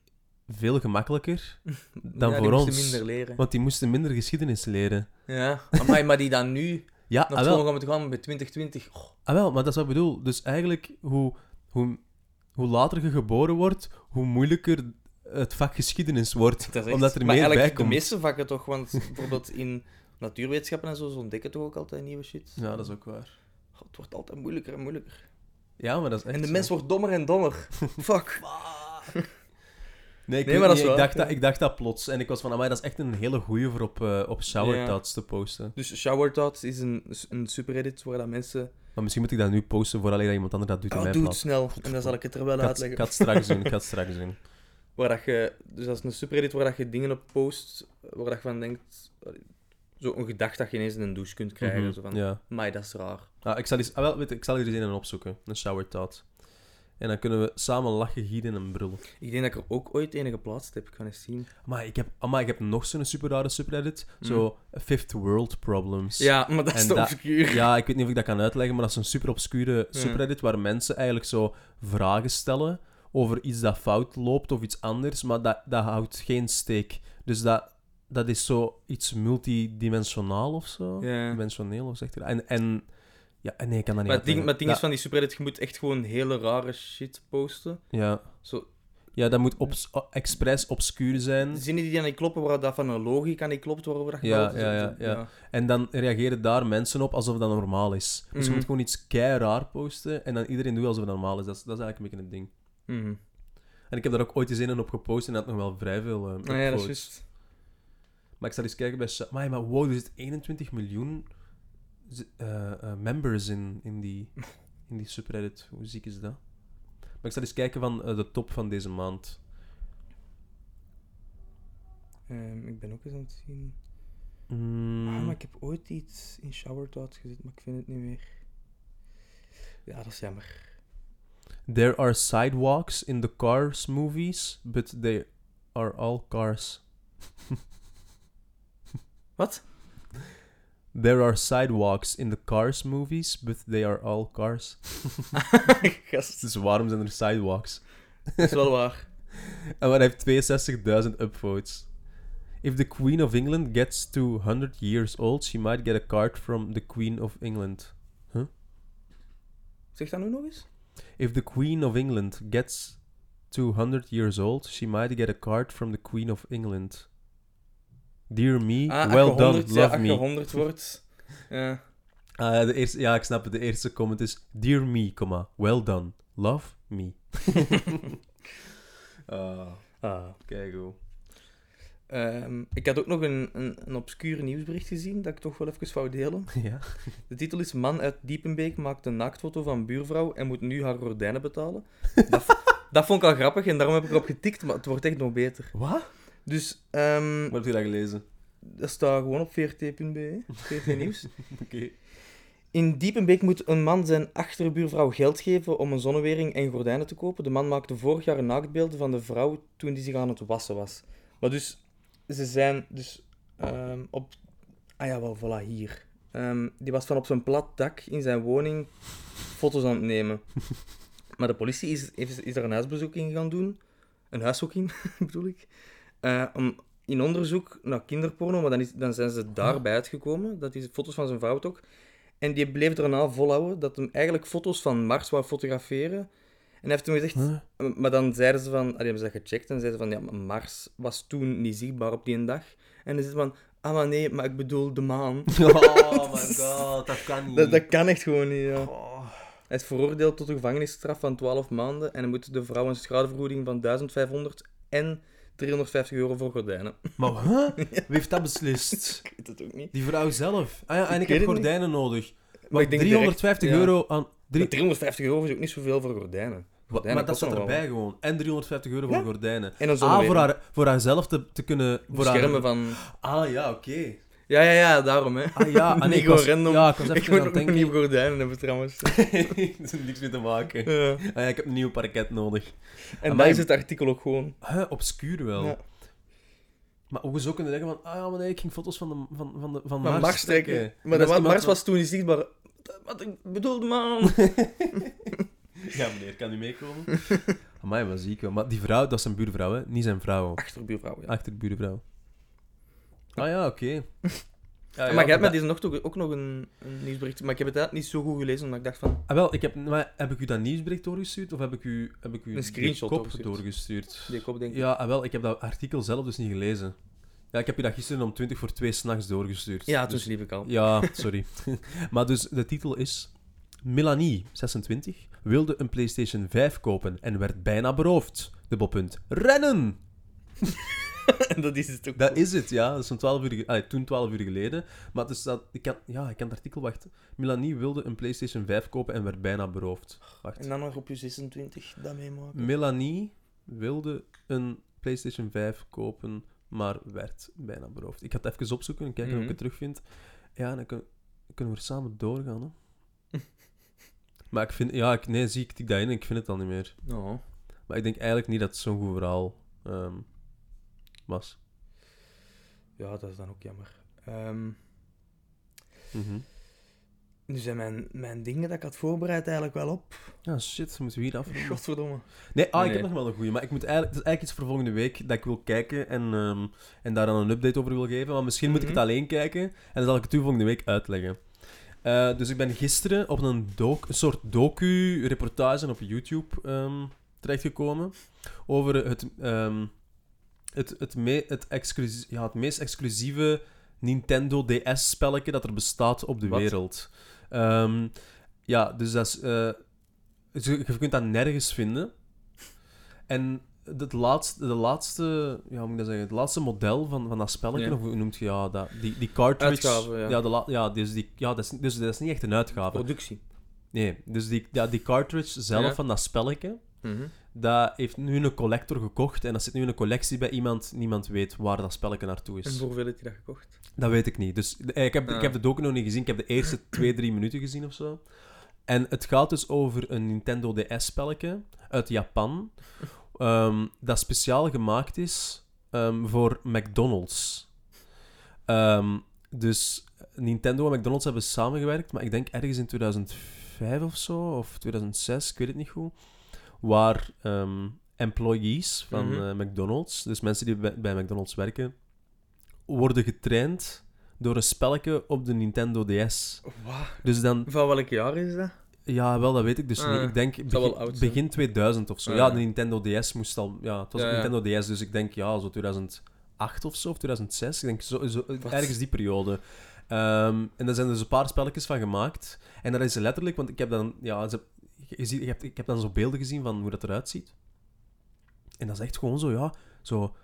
B: veel gemakkelijker. Dan
A: die
B: voor
A: moesten
B: ons.
A: minder leren.
B: Want die moesten minder geschiedenis leren.
A: Ja, Amai, maar die dan nu
B: Ja,
A: naar
B: ah, wel.
A: school gaan moeten gaan bij 2020. Oh,
B: Ah wel, maar dat is wat ik bedoel. Dus eigenlijk, hoe, hoe, hoe later je geboren wordt, hoe moeilijker het vak geschiedenis wordt.
A: dat is echt-
B: Omdat er
A: maar
B: meer bij
A: eigenlijk de
B: komt.
A: meeste vakken toch, want bijvoorbeeld in natuurwetenschappen en zo, ze ontdekken toch ook altijd nieuwe shit.
B: Ja, dat is ook waar.
A: Oh, het wordt altijd moeilijker en moeilijker.
B: Ja, maar dat is echt
A: en de
B: zo.
A: mens wordt dommer en dommer. Fuck.
B: Nee, ik,
A: Nee,
B: weet
A: maar dat
B: niet,
A: is
B: ik,
A: waar.
B: dacht dat, ik dacht dat plots. En ik was van, amai, dat is echt een hele goeie voor op, eh, op Shower
A: Ja.
B: Thoughts te posten.
A: Dus Shower Thoughts is een, een subreddit waar dat mensen...
B: Maar misschien moet ik dat nu posten voor alleen dat iemand anders dat doet in
A: Oh,
B: mijn
A: doe het
B: plaats.
A: snel. En dan zal ik het er wel
B: Ik had,
A: uitleggen.
B: ik had het straks doen, ik had het straks doen.
A: Waar dat je, dus dat is een subreddit waar dat je dingen op post, waar dat je van denkt, eh, zo een gedachte dat je ineens in een douche kunt krijgen.
B: Mhm,
A: Zo van,
B: Ja.
A: "Amai, dat is raar.
B: Ah, ik, zal eens, ah, wel, weet, je, ik zal er eens een opzoeken, een Shower Thought. En dan kunnen we samen lachen, gieren en brullen.
A: Ik denk dat ik er ook ooit enige geplaatst heb, ik kan eens zien.
B: Maar ik heb, amai, ik heb nog zo'n super rare subreddit. Zo eh, Fifth World Problems.
A: Hmm. Ja, maar dat
B: En
A: is te
B: dat-
A: obscuur.
B: Ja, ik weet niet of ik dat kan uitleggen, maar dat is een super obscure
A: Hmm.
B: subreddit waar mensen eigenlijk zo vragen stellen over iets dat fout loopt of iets anders, maar dat, dat houdt geen steek. Dus dat, dat is zo iets multidimensionaal of zo.
A: Ja.
B: Dimensioneel of zegt hij dat? En, en ja, nee, ik kan dat
A: Maar het
B: niet
A: ding, maar
B: uitleggen.
A: het ding is van die subreddit, je moet echt gewoon hele rare shit posten.
B: Dat- ja.
A: Zo,
B: ja, dat moet obs- o- expres obscuur zijn.
A: zinnen die dan niet kloppen, waar dat van een logica niet klopt, waarover dat je
B: Ja,
A: babbelt,
B: ja,
A: zo-
B: ja, ja. En dan reageren daar mensen op alsof dat normaal is. Dus je
A: Mhm.
B: moet gewoon iets kei raar posten en dan iedereen doet alsof het normaal is. Dat is, dat is eigenlijk een beetje het ding.
A: Mhm.
B: En ik heb daar ook ooit eens in op gepost en dat had nog wel vrij veel eh,
A: Nou ja, dat is
B: upvotes.
A: juist.
B: Maar ik zal eens kijken bij... Sha- Maar, maar wow, er zit 21 miljoen z- eh, eh, members in, in, die, in die subreddit. Hoe ziek is dat? Maar ik zal eens kijken van eh, de top van deze maand.
A: Ehm, ik ben ook eens aan het zien.
B: Mm,
A: Ah, maar ik heb ooit iets in Shower Thoughts gezet, maar ik vind het niet meer. Ja, dat is jammer.
B: There are sidewalks in the Cars movies, but they are all cars.
A: Wat?
B: There are sidewalks in the Cars movies, but they are all cars.
A: Gast,
B: Dus waarom zijn er sidewalks?
A: dat is wel waar.
B: En maar hij heeft 62.000 upvotes. If the Queen of England gets to 100 years old, she might get a card from the Queen of England.
A: Zeg dat nu nog eens?
B: If the Queen of England gets to 100 years old, she might get a card from the Queen of England. Dear me,
A: Ah, als
B: well
A: je
B: done,
A: 100 ja,
B: love
A: als je
B: me.
A: 100 wordt. Ja.
B: Ah, ja, de eerste, ja, ik snap het. De eerste comment is... Dear me, comma, well done, love me. Ah,
A: Ah.
B: kijk hoe.
A: Ehm, ik had ook nog een, een, een obscuur nieuwsbericht gezien dat ik toch wel even wou delen.
B: Ja.
A: De titel is Man uit Diepenbeek maakt een naaktfoto van buurvrouw en moet nu haar gordijnen betalen. Dat, dat vond ik al grappig en daarom heb ik erop getikt, maar het wordt echt nog beter.
B: Wat?
A: Dus ehm,
B: Waar heb je dat gelezen?
A: dat staat gewoon op vrt.be, VRT Nieuws.
B: Oké.
A: In Diepenbeek moet een man zijn achterbuurvrouw geld geven om een zonnewering en gordijnen te kopen. De man maakte vorig jaar naaktbeelden van de vrouw toen die zich aan het wassen was. Maar dus, ze zijn dus ehm, op... Ah ja, wel, voilà, hier. Ehm, die was van op zijn plat dak in zijn woning foto's aan het nemen. Maar de politie is, is, is er een huisbezoeking gaan doen. Een huiszoeking, bedoel ik. Eh, om, in onderzoek naar kinderporno, maar dan, is, dan zijn ze daarbij uitgekomen. Dat is foto's van zijn vrouw toch. En die bleef daarna volhouden dat hem eigenlijk foto's van Mars wou fotograferen. En hij heeft toen gezegd...
B: Huh?
A: Maar dan zeiden ze van... Allee, hebben ze dat gecheckt en zeiden ze van... Ja, maar Mars was toen niet zichtbaar op die dag. En dan zit van... Ah, maar nee, maar ik bedoel de maan.
B: Oh my god, dat kan niet.
A: Dat, dat kan echt gewoon niet, ja.
B: Oh.
A: Hij is veroordeeld tot een gevangenisstraf van 12 maanden en hij moet de vrouw een schadevergoeding van 1500 en 350 euro voor gordijnen.
B: Maar huh? wie heeft dat beslist?
A: Ik weet het ook niet.
B: Die vrouw zelf. Ah ja, en ik,
A: Ik weet
B: heb
A: het niet.
B: gordijnen nodig. Maar,
A: ik denk
B: 350
A: direct, ja.
B: euro aan... Drie...
A: Maar 350 euro is ook niet zoveel voor gordijnen.
B: Maar,
A: Gordijnen
B: dat
A: kosten
B: staat
A: nog wel
B: erbij gewoon. En 350 euro voor
A: Ja.
B: gordijnen.
A: wat. En dan zo'n
B: Ah, voor, haar, voor haarzelf te, te kunnen... Voor haar-
A: schermen van...
B: Ah ja, oké.
A: Ja, ja, ja, daarom, hè.
B: Ah ja, ah, nee,
A: Niet
B: ik was,
A: gewoon random.
B: Ja, ik was even
A: Ik moet
B: aan
A: ook
B: het
A: nog
B: denken.
A: nieuwe gordijnen hebben, trouwens.
B: Er is niks mee te maken.
A: Ja.
B: Ah, ja, ik heb een nieuw parket nodig.
A: En daar
B: Amai.
A: is het artikel ook gewoon.
B: Huh, obscuur wel.
A: Ja.
B: Maar hoezo kunnen denken van... Ah ja, maar nee, ik ging foto's van, de, van, van, de, van
A: Maar Mars trekken. Maar
B: dat
A: de
B: is iemand
A: Mars
B: van-
A: was toen niet zichtbaar. Wat ik bedoelde, man.
B: Ja, meneer, kan u meekomen? Amai, wat ziek wel. Maar die vrouw, dat is zijn buurvrouw, hè? Niet zijn vrouw.
A: Achterbuurvrouw, ja.
B: Achterbuurvrouw. Ah ja, oké. Ja,
A: maar
B: ja,
A: jij hebt
B: dat-
A: met deze nog toch ook nog een, een nieuwsbericht. Maar ik heb het inderdaad niet zo goed gelezen, omdat ik dacht van...
B: Ah, wel, ik heb, maar heb ik u dat nieuwsbericht doorgestuurd of heb ik u, heb ik u
A: Een
B: die
A: screenshot
B: kop
A: doorgestuurd.
B: doorgestuurd?
A: Die kop, denk ik.
B: Ja, ah, wel, ik heb dat artikel zelf dus niet gelezen. Ja, ik heb u dat gisteren om 20 voor 2 s'nachts doorgestuurd.
A: Ja, toen
B: Dus-
A: sliep ik al.
B: Ja, sorry. maar dus de titel is: Melanie, 26, wilde een PlayStation 5 kopen en werd bijna beroofd. Dubbelpunt. Rennen!
A: dat is het ook.
B: Dat is het, ja. Dat is een 12 uur, ge- allee, toen 12 uur geleden. Maar dus dat, ik, kan, ja, ik kan het artikel wachten. Melanie wilde een PlayStation 5 kopen en werd bijna beroofd. Wacht.
A: En dan nog op je 26, dat meemaken.
B: Melanie wilde een PlayStation 5 kopen, maar werd bijna beroofd. Ik ga het even opzoeken en kijken of
A: Mhm.
B: ik het terugvind. Ja, dan kun- kunnen we er samen doorgaan. Hè? maar ik vind, ja, ik, nee, zie ik tik dat in en ik vind het dan niet meer.
A: Oh.
B: Maar ik denk eigenlijk niet dat het zo'n goed verhaal ehm, was.
A: Ja, dat is dan ook jammer. Ehm,
B: Mhm.
A: nu zijn mijn, mijn dingen dat ik had voorbereid eigenlijk wel op.
B: Ja, shit, moeten we hier af.
A: Godverdomme.
B: Nee, ah, ik
A: Nee.
B: heb nog wel een goeie, maar ik moet eigenlijk, het is eigenlijk iets voor volgende week dat ik wil kijken en, ehm, en daar dan een update over wil geven. Maar misschien moet ik
A: Mhm.
B: het alleen kijken en dan zal ik het u volgende week uitleggen. Eh, dus ik ben gisteren op een, doc, een soort docu-reportage op YouTube ehm, terechtgekomen over het, ehm, het, het, me- het, exclusie- ja, het meest exclusieve Nintendo DS-spelletje dat er bestaat op de
A: Wat?
B: wereld. Ehm, ja, dus dat is... eh, dus je, je kunt dat nergens vinden. En het laatste, de laatste, ja, hoe moet ik dat zeggen, het laatste model van, van dat spelletje,
A: Ja.
B: of hoe noemt je ja, dat, die, die cartridge.
A: Uitgave, ja.
B: de la- ja, dus, die, ja dat is, dus dat is niet echt een uitgave.
A: Productie.
B: Nee, dus die, ja, die cartridge zelf
A: Ja.
B: van dat spelletje, dat heeft nu een collector gekocht en dat zit nu in een collectie bij iemand. Niemand weet waar dat spelletje naartoe
A: En
B: is.
A: voor hoeveel heb je dat gekocht?
B: Dat weet ik niet. Dus eh, ik heb, ik
A: Ah.
B: heb de docu nog niet gezien. Ik heb de eerste twee, drie minuten gezien of zo. En het gaat dus over een Nintendo DS-spelletje uit Japan. ehm, dat speciaal gemaakt is ehm, voor McDonald's. Ehm, dus Nintendo en McDonald's hebben samengewerkt, maar ik denk ergens in 2005 of zo, of 2006, ik weet het niet goed. Waar ehm, employees van
A: Mhm.
B: eh, McDonald's, dus mensen die bij, bij McDonald's werken, worden getraind door een spelletje op de Nintendo DS.
A: Wat?
B: Dus dan,
A: Van welk jaar is dat?
B: ja, wel, dat weet ik dus
A: Ah,
B: niet. Ik denk begin,
A: wel oud zijn.
B: begin 2000 of zo.
A: Ah,
B: ja,
A: ja.
B: de Nintendo DS moest al, ja, het was
A: Ja,
B: een
A: ja.
B: Nintendo DS, dus ik denk ja, zo 2008 of zo, of 2006. Ik denk zo, zo ergens die periode. Ehm, en daar zijn dus een paar spelletjes van gemaakt. En dat is letterlijk, want ik heb dan, ja, ze, je ziet, ik, heb, ik heb dan zo beelden gezien van hoe dat eruit ziet. En dat is echt gewoon zo, ja, zo,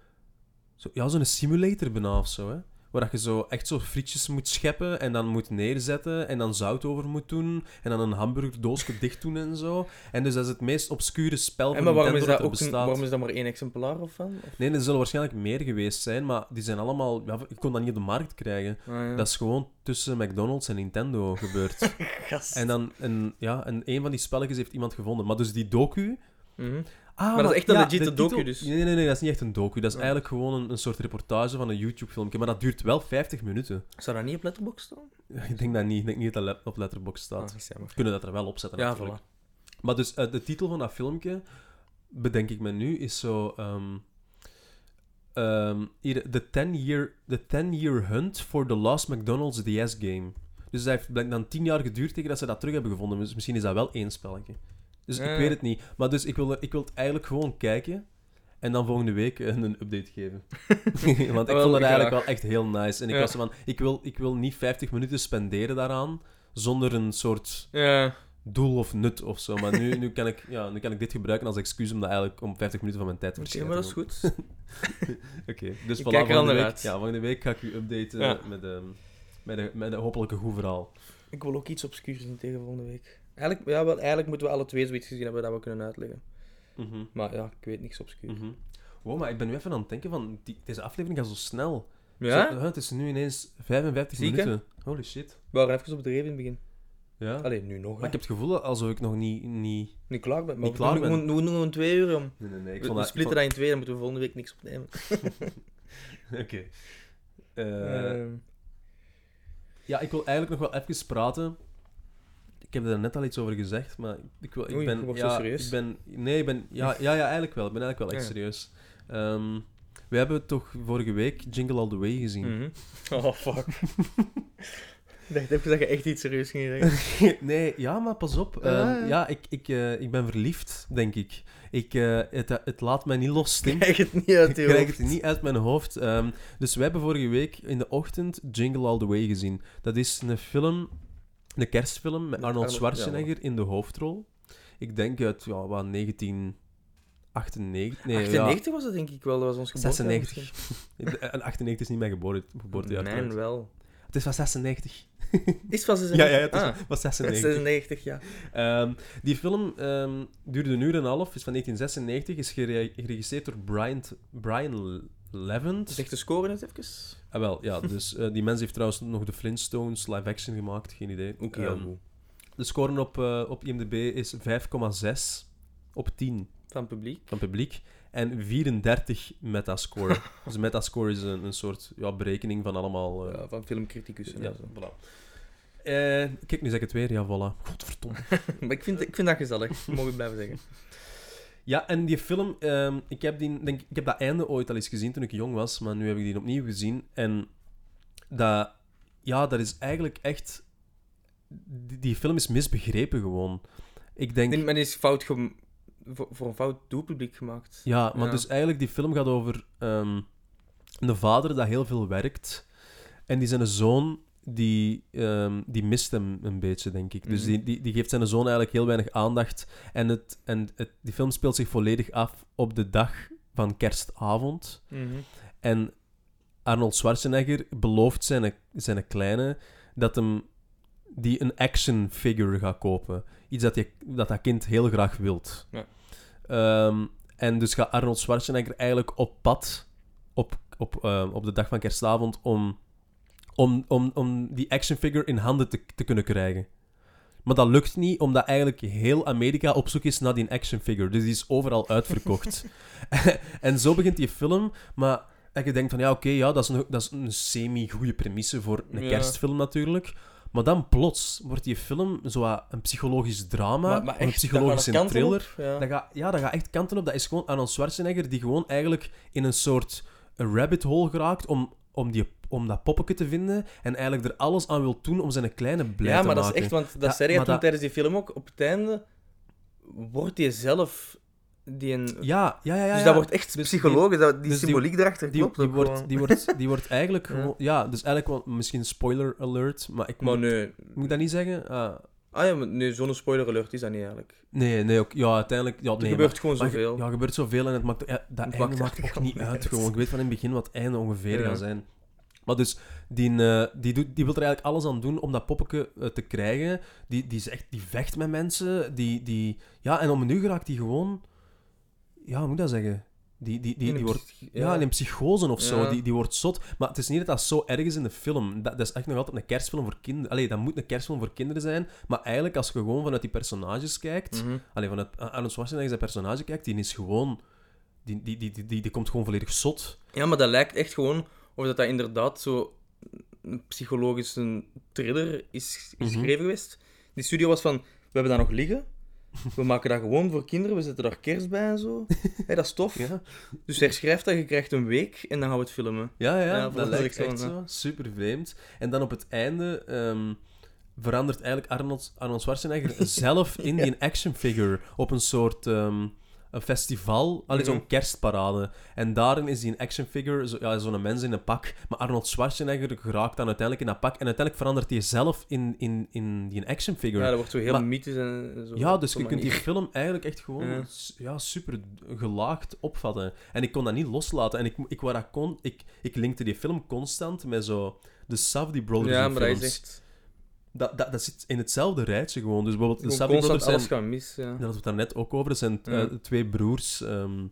B: zo, ja, zo'n simulator bijna of zo, hè. Waar dat je zo echt zo frietjes moet scheppen en dan moet neerzetten en dan zout over moet doen en dan een hamburgerdoosje dicht doen en zo. En dus dat is het meest obscure spel
A: En
B: van
A: maar waarom is
B: Nintendo
A: dat,
B: er
A: ook een-
B: bestaat.
A: waarom is dat maar één exemplaar of van? Of-
B: Nee, er zullen waarschijnlijk meer geweest zijn, maar die zijn allemaal... Ja, ik kon dat niet op de markt krijgen.
A: Ah, ja.
B: Dat is gewoon tussen McDonald's en Nintendo gebeurd.
A: Gast.
B: en dan, en, ja, en een van die spelletjes heeft iemand gevonden. Maar dus die docu...
A: Mhm.
B: Ah,
A: dat is echt een
B: legit
A: legit docu dus.
B: Nee, nee, nee, dat is niet echt een docu. Dat is
A: Ja.
B: eigenlijk gewoon een, een soort reportage van een YouTube-filmpje. Maar dat duurt wel 50 minuten.
A: Zou dat niet op Letterboxd staan?
B: Ik denk dat niet. Ik denk niet dat dat le- op Letterboxd
A: Ah,
B: staat.
A: dat is
B: We
A: jammer.
B: kunnen dat er wel op zetten,
A: Ja,
B: natuurlijk.
A: voilà.
B: Maar dus eh, de titel van dat filmpje, bedenk ik me nu, is zo... ehm, ehm, hier, the 10-year the 10 year Hunt for the Last McDonald's DS Game. Dus dat heeft blijkbaar dan tien jaar geduurd tegen dat ze dat terug hebben gevonden. Dus misschien is dat wel één spelletje. Dus
A: Ja.
B: ik weet het niet. Maar dus ik wil, ik wil het eigenlijk gewoon kijken en dan volgende week eh, een update geven. Want ik
A: Wel,
B: vond
A: graag.
B: het eigenlijk wel echt heel nice. En ik
A: Ja.
B: was zo van, ik wil, ik wil niet 50 minuten spenderen daaraan zonder een soort
A: Ja.
B: doel of nut of zo. Maar nu, nu, kan, ik, ja, nu kan ik dit gebruiken als excuus om, dat eigenlijk, om 50 minuten van mijn tijd te
A: Oké,
B: verschijnen.
A: maar dat is goed.
B: Oké, dus
A: Ik
B: voilà,
A: kijk er
B: volgende,
A: anders
B: week,
A: uit.
B: ja, volgende week ga ik u updaten
A: Ja.
B: met, ehm met, een, met een hopelijk een goed verhaal.
A: Ik wil ook iets obscuurs zien tegen volgende week. Eigenlijk, ja, wel, eigenlijk moeten we alle twee zoiets gezien hebben dat we kunnen uitleggen.
B: Mhm,
A: Maar ja, ik weet niks obscuurs.
B: mhm. Wow, maar ik ben nu even aan het denken van, die- deze aflevering gaat zo snel.
A: Ja?
B: Zo, hè, het is nu ineens 55
A: Ziek, hè?
B: minuten. Holy shit.
A: We waren even op dreef in het begin.
B: Ja.
A: Alleen nu nog.
B: Maar
A: hè.
B: ik heb het gevoel alsof ik nog niet... niet...
A: Nu klaar ben. Maar
B: Niet
A: we doen
B: klaar ben.
A: gewoon- we doen gewoon twee uur om.
B: Nee, nee, nee.
A: We, we splitten dat in twee, dan moeten we volgende week niks opnemen.
B: Oké. Eh,
A: Ehm,
B: Ja, ik wil eigenlijk nog wel even praten. Ik heb er net al iets over gezegd, maar ik, wil, ik
A: Oei,
B: ben...
A: je wordt
B: ja,
A: zo serieus.
B: Ik ben, nee, ik ben... Ja, ja, ja, eigenlijk wel. Ik ben eigenlijk wel echt
A: Ja.
B: serieus. Ehm, we hebben toch vorige week Jingle All The Way gezien?
A: mhm. Oh, fuck. Ik dacht even dat je echt iets serieus ging zeggen.
B: nee, ja, maar pas op. Ehm,
A: Ah, ja.
B: ja, ik, ik, eh, ik ben verliefd, denk ik. ik eh, het, het laat mij niet los, Tim.
A: Krijg het niet uit je
B: Ik krijg het
A: hoofd.
B: niet uit mijn hoofd. Ehm, dus we hebben vorige week in de ochtend Jingle All The Way gezien. Dat is een film, een kerstfilm met
A: Met
B: Arnold
A: Arnold-
B: Schwarzenegger in de hoofdrol. Ik denk uit ja, wat, 1998... Nee, ja,
A: 98 was dat denk ik wel, dat was ons geboortejaar
B: 96.
A: misschien.
B: En 98 is niet mijn geboorte, geboortejaar.
A: Mijn
B: trouwens.
A: wel.
B: Het is van 96.
A: Is het van
B: Ja,
A: 96?
B: ja, het is
A: Ah,
B: van 96.
A: 96, ja.
B: Ehm, die film ehm, duurde een uur en een half, is van 1996, is gere- geregisseerd door Brian, Brian Levent.
A: Zeg de score eens even.
B: Ah, wel, ja. Dus eh, die mens heeft trouwens nog de Flintstones live action gemaakt, geen idee.
A: Ook
B: Ehm, de score op, eh, op IMDb is 5,6 op 10
A: Van publiek.
B: van publiek en 34 metascore. dus metascore is een, een soort ja, berekening van allemaal. eh,
A: Ja, van filmcriticus.
B: ja, voilà. Eh, kijk, nu zeg ik het weer. Ja, voilà. Godverdomme.
A: maar ik vind, ik vind dat gezellig, mogen we blijven zeggen.
B: Ja, en die film, ehm, ik, heb die, denk, ik- ik heb dat einde ooit al eens gezien toen ik jong was, maar nu heb ik die opnieuw gezien. En dat, ja, dat is eigenlijk echt. Die, die film is misbegrepen gewoon. Ik denk.
A: Nee, men is fout gem- voor, voor een fout doelpubliek gemaakt.
B: Ja, maar
A: Ja.
B: dus eigenlijk die film gaat over ehm, een vader dat heel veel werkt. En die zijn zoon, die, ehm, die mist hem een beetje, denk ik. Dus
A: Mhm.
B: die, die, die geeft zijn zoon eigenlijk heel weinig aandacht. En, het, en het, die film speelt zich volledig af op de dag van kerstavond.
A: Mhm.
B: En Arnold Schwarzenegger belooft zijn, zijn kleine dat hem die een action figure gaat kopen. Iets dat, je, dat dat kind heel graag wilt.
A: Ja.
B: Ehm, en dus gaat Arnold Schwarzenegger eigenlijk op pad op, op, ehm, op de dag van kerstavond om, om, om, om die action figure in handen te, te kunnen krijgen. Maar dat lukt niet, omdat eigenlijk heel Amerika op zoek is naar die action figure. Dus die is overal uitverkocht. en zo begint die film, maar en je denkt van ja, oké, ja, dat is een, dat is een semi-goede premisse voor een
A: Ja.
B: kerstfilm natuurlijk. Maar dan plots wordt die film zo wat een psychologisch drama, of een
A: dat gaat
B: psychologische
A: alle kanten
B: thriller.
A: op, Ja.
B: Dat gaat, ja, dat gaat echt kanten op. Dat is gewoon Arnold Schwarzenegger die gewoon eigenlijk in een soort rabbit hole geraakt om, om, die, om dat poppetje te vinden en eigenlijk er alles aan wil doen om zijn kleine blij
A: Ja,
B: te
A: maar dat
B: maken.
A: is echt, want dat
B: Ja,
A: zei je
B: maar
A: toen
B: dat-
A: tijdens die film ook. Op het einde wordt je zelf die een...
B: Ja, ja, ja. ja,
A: Dus
B: ja.
A: dat wordt echt
B: Dus
A: psychologisch, dat- die,
B: dus die-
A: symboliek erachter
B: Die,
A: klopt
B: die,
A: ook
B: wordt,
A: gewoon.
B: die, wordt, die wordt eigenlijk
A: Ja.
B: gewoon... Ja, dus eigenlijk wel misschien spoiler alert, maar ik
A: Maar
B: moet,
A: nee,
B: moet ik dat niet zeggen? Ah,
A: ah, ja, maar nee zo'n spoiler alert is dat niet eigenlijk.
B: nee, nee, ook, ja, uiteindelijk... Ja,
A: Er
B: nee,
A: gebeurt gewoon
B: maar- maar ge-
A: zoveel.
B: Ja, er gebeurt zoveel en het maakt, ja, dat
A: Het
B: einde
A: maakt
B: maakt
A: eigenlijk
B: ook niet
A: allemaal
B: uit.
A: niet
B: Gewoon. Ik weet van in het begin wat het einde ongeveer
A: Ja.
B: gaat zijn. Maar dus, die, eh, die, doet, die wil er eigenlijk alles aan doen om dat poppetje eh, te krijgen. Die, die, zegt, die vecht met mensen. Die, die, ja, en om nu geraakt die gewoon... Ja, hoe moet ik dat zeggen? Die, die, die,
A: In
B: die
A: een
B: wordt
A: psych-
B: ja, in een psychose of zo.
A: Ja.
B: Die, die wordt zot. Maar het is niet dat dat zo erg is in de film. Dat, dat is echt nog altijd een kerstfilm voor kinderen. Allee, dat moet een kerstfilm voor kinderen zijn. Maar eigenlijk, als je gewoon vanuit die personages kijkt...
A: Mhm.
B: Allee, vanuit Arnold Schwarzenegger zijn personage kijkt, die is gewoon... Die, die, die, die, die, die komt gewoon volledig zot.
A: Ja, maar dat lijkt echt gewoon of dat, dat inderdaad zo een psychologische thriller is
B: Mhm.
A: geschreven geweest. Die studio was van, we hebben dat nog liggen. We maken dat gewoon voor kinderen, we zetten daar kerst bij en zo. Hé, dat is tof.
B: Ja,
A: Dus herschrijf dat, je krijgt een week en dan gaan we het filmen.
B: ja, ja,
A: Ja,
B: dat
A: volgens
B: lijkt
A: mij
B: echt
A: zo,
B: zo. Super vreemd. En dan op het einde... ehm, verandert eigenlijk Arnold, Arnold Schwarzenegger zelf in die action figure op een soort ehm, een festival, alleen zo'n
A: Mhm.
B: kerstparade. En daarin is die action figure, zo, ja, zo'n mens in een pak. Maar Arnold Schwarzenegger geraakt dan uiteindelijk in dat pak. En uiteindelijk verandert hij zelf in, in, in die action figure.
A: Ja, dat wordt zo heel
B: Maar-
A: mythisch en en zo.
B: Ja,
A: op
B: dus je
A: zo'n
B: kunt die
A: manier.
B: film eigenlijk echt gewoon
A: Ja.
B: s- ja. super gelaagd opvatten. En ik kon dat niet loslaten. En ik, ik, waar dat kon, ik, ik linkte die film constant met zo de Safdie Brothers
A: Ja,
B: in
A: maar dat is
B: films.
A: echt...
B: Dat, dat, dat zit in hetzelfde rijtje gewoon. Dus bijvoorbeeld de
A: Gewoon
B: Safdie
A: constant alles
B: Brothers zijn...
A: gaan mis, ja.
B: Daar hadden we het daarnet ook over. Dat zijn eh,
A: Ja.
B: twee broers, ehm,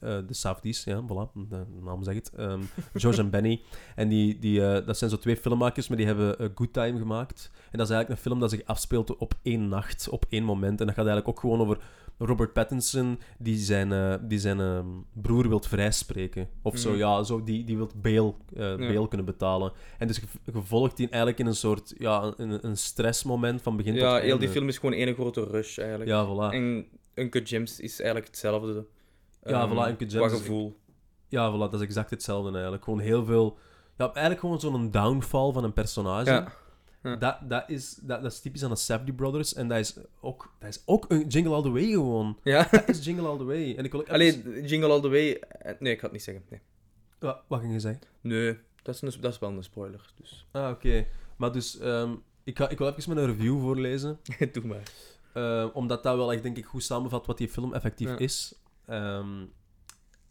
B: eh, de Safdies, ja, voilà, de naam zegt het. Ehm, George en Benny. En die, die, eh, dat zijn zo twee filmmakers, maar die hebben eh, Good Time gemaakt. En dat is eigenlijk een film dat zich afspeelt op één nacht, op één moment. En dat gaat eigenlijk ook gewoon over Robert Pattinson, die zijn, eh, die zijn ehm, broer wilt vrijspreken. Of zo,
A: Mhm.
B: ja, zo, die, die wilt bail, eh, bail kunnen betalen. En dus gevolgd die eigenlijk in een soort, ja, een, een stressmoment van begin tot
A: Ja, heel die
B: einde.
A: film is gewoon één grote rush, eigenlijk.
B: Ja, voilà.
A: En Uncle James is eigenlijk hetzelfde.
B: Ja,
A: Ehm,
B: voilà, Uncle James
A: Qua
B: is-
A: gevoel.
B: Ja, voilà, dat is exact hetzelfde eigenlijk. Gewoon heel veel... Ja, eigenlijk gewoon zo'n downfall van een personage.
A: Ja. Ja.
B: Dat, dat, is, dat, dat is typisch aan de Safdie Brothers. En dat is ook, dat is ook een Jingle All The Way gewoon.
A: ja.
B: Dat is Jingle All The Way. En ik wil ook... even-
A: Allee, Jingle All The Way... eh, Nee, ik ga het niet zeggen. Nee,
B: Wa- wat ging je zeggen?
A: nee dat, is een, dat is wel een spoiler. Dus
B: Ah, oké. Maar dus, ehm, ik, ga, ik wil even mijn review voorlezen.
A: doe maar.
B: Eh, omdat dat wel echt, denk ik, goed samenvat wat die film effectief
A: Ja.
B: is. Ehm,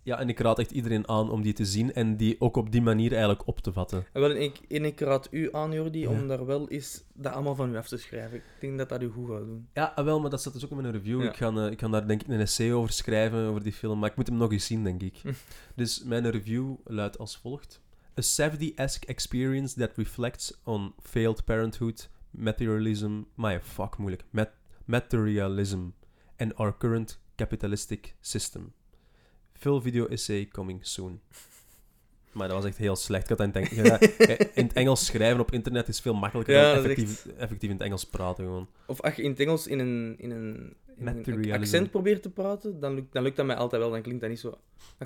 B: ja, en ik raad echt iedereen aan om die te zien en die ook op die manier eigenlijk op te vatten.
A: En, wel, en ik, en ik raad u aan, Jordi,
B: Ja.
A: om daar wel eens dat allemaal van u af te schrijven. Ik denk dat dat u goed gaat doen.
B: Ja, ah, wel, maar dat staat dus ook in mijn review.
A: Ja.
B: Ik, ga, eh, ik ga daar denk ik een essay over schrijven, over die film. Maar ik moet hem nog eens zien, denk ik.
A: Hm.
B: dus mijn review luidt als volgt. A Savdi-esque experience that reflects on failed parenthood, materialism... Maar ja, fuck, moeilijk. Mat materialism and our current capitalistic system. Veel video-essay coming soon. Maar dat was echt heel slecht. Ik had dat in het, Eng- Ja, in het Engels schrijven op internet is veel makkelijker
A: Ja,
B: dan
A: dat is
B: effectief, effectief in het Engels praten gewoon.
A: Of als je in het Engels in een, in een, in een
B: Materialism.
A: accent probeert te praten, dan lukt, dan lukt dat mij altijd wel. Dan klinkt dat niet zo... Als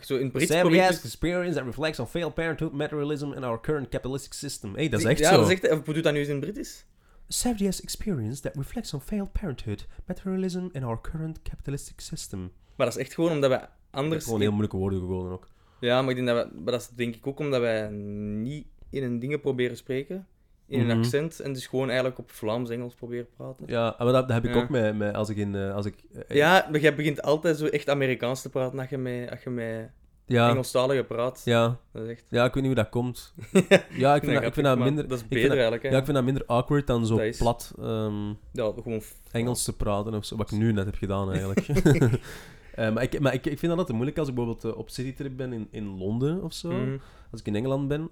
A: je zo in het Brits
B: Savvy
A: probeert...
B: has experience that reflects on failed parenthood, materialism and our current capitalistic system. hey, dat is echt
A: ja,
B: zo.
A: dat is echt... Of doet dat nu eens in het Brits?
B: Savvy has experience that reflects on failed parenthood, materialism and our current capitalistic system.
A: Maar dat is echt gewoon omdat wij
B: Dat
A: anders...
B: is gewoon heel moeilijke woorden gekozen ook.
A: Ja, maar, ik denk dat wij, maar dat is denk ik ook omdat wij niet in een dingen proberen spreken, in
B: Mhm.
A: een accent, en dus gewoon eigenlijk op Vlaams-Engels proberen praten. Ja.
B: Ja, maar dat, dat heb ik
A: Ja.
B: ook met, met als ik in... eh, Als ik, eh,
A: maar jij begint altijd zo echt Amerikaans te praten als je met, als je met
B: ja,
A: Engelstaligen praat.
B: ja,
A: Dat is echt...
B: ja, ik weet niet hoe dat komt. ja, ik vind, dat, ik vind dat minder...
A: Dat is
B: vind
A: beter
B: dat-
A: eigenlijk, hè.
B: Ja, ik vind dat minder awkward dan zo
A: Dat is-
B: plat ehm,
A: Ja, gewoon... f-
B: Engels te praten of zo, wat ik nu net heb gedaan eigenlijk. Eh, maar ik, maar ik, ik vind dat altijd moeilijk als ik bijvoorbeeld eh, op citytrip ben in, in Londen of zo.
A: Mhm.
B: als ik in Engeland ben,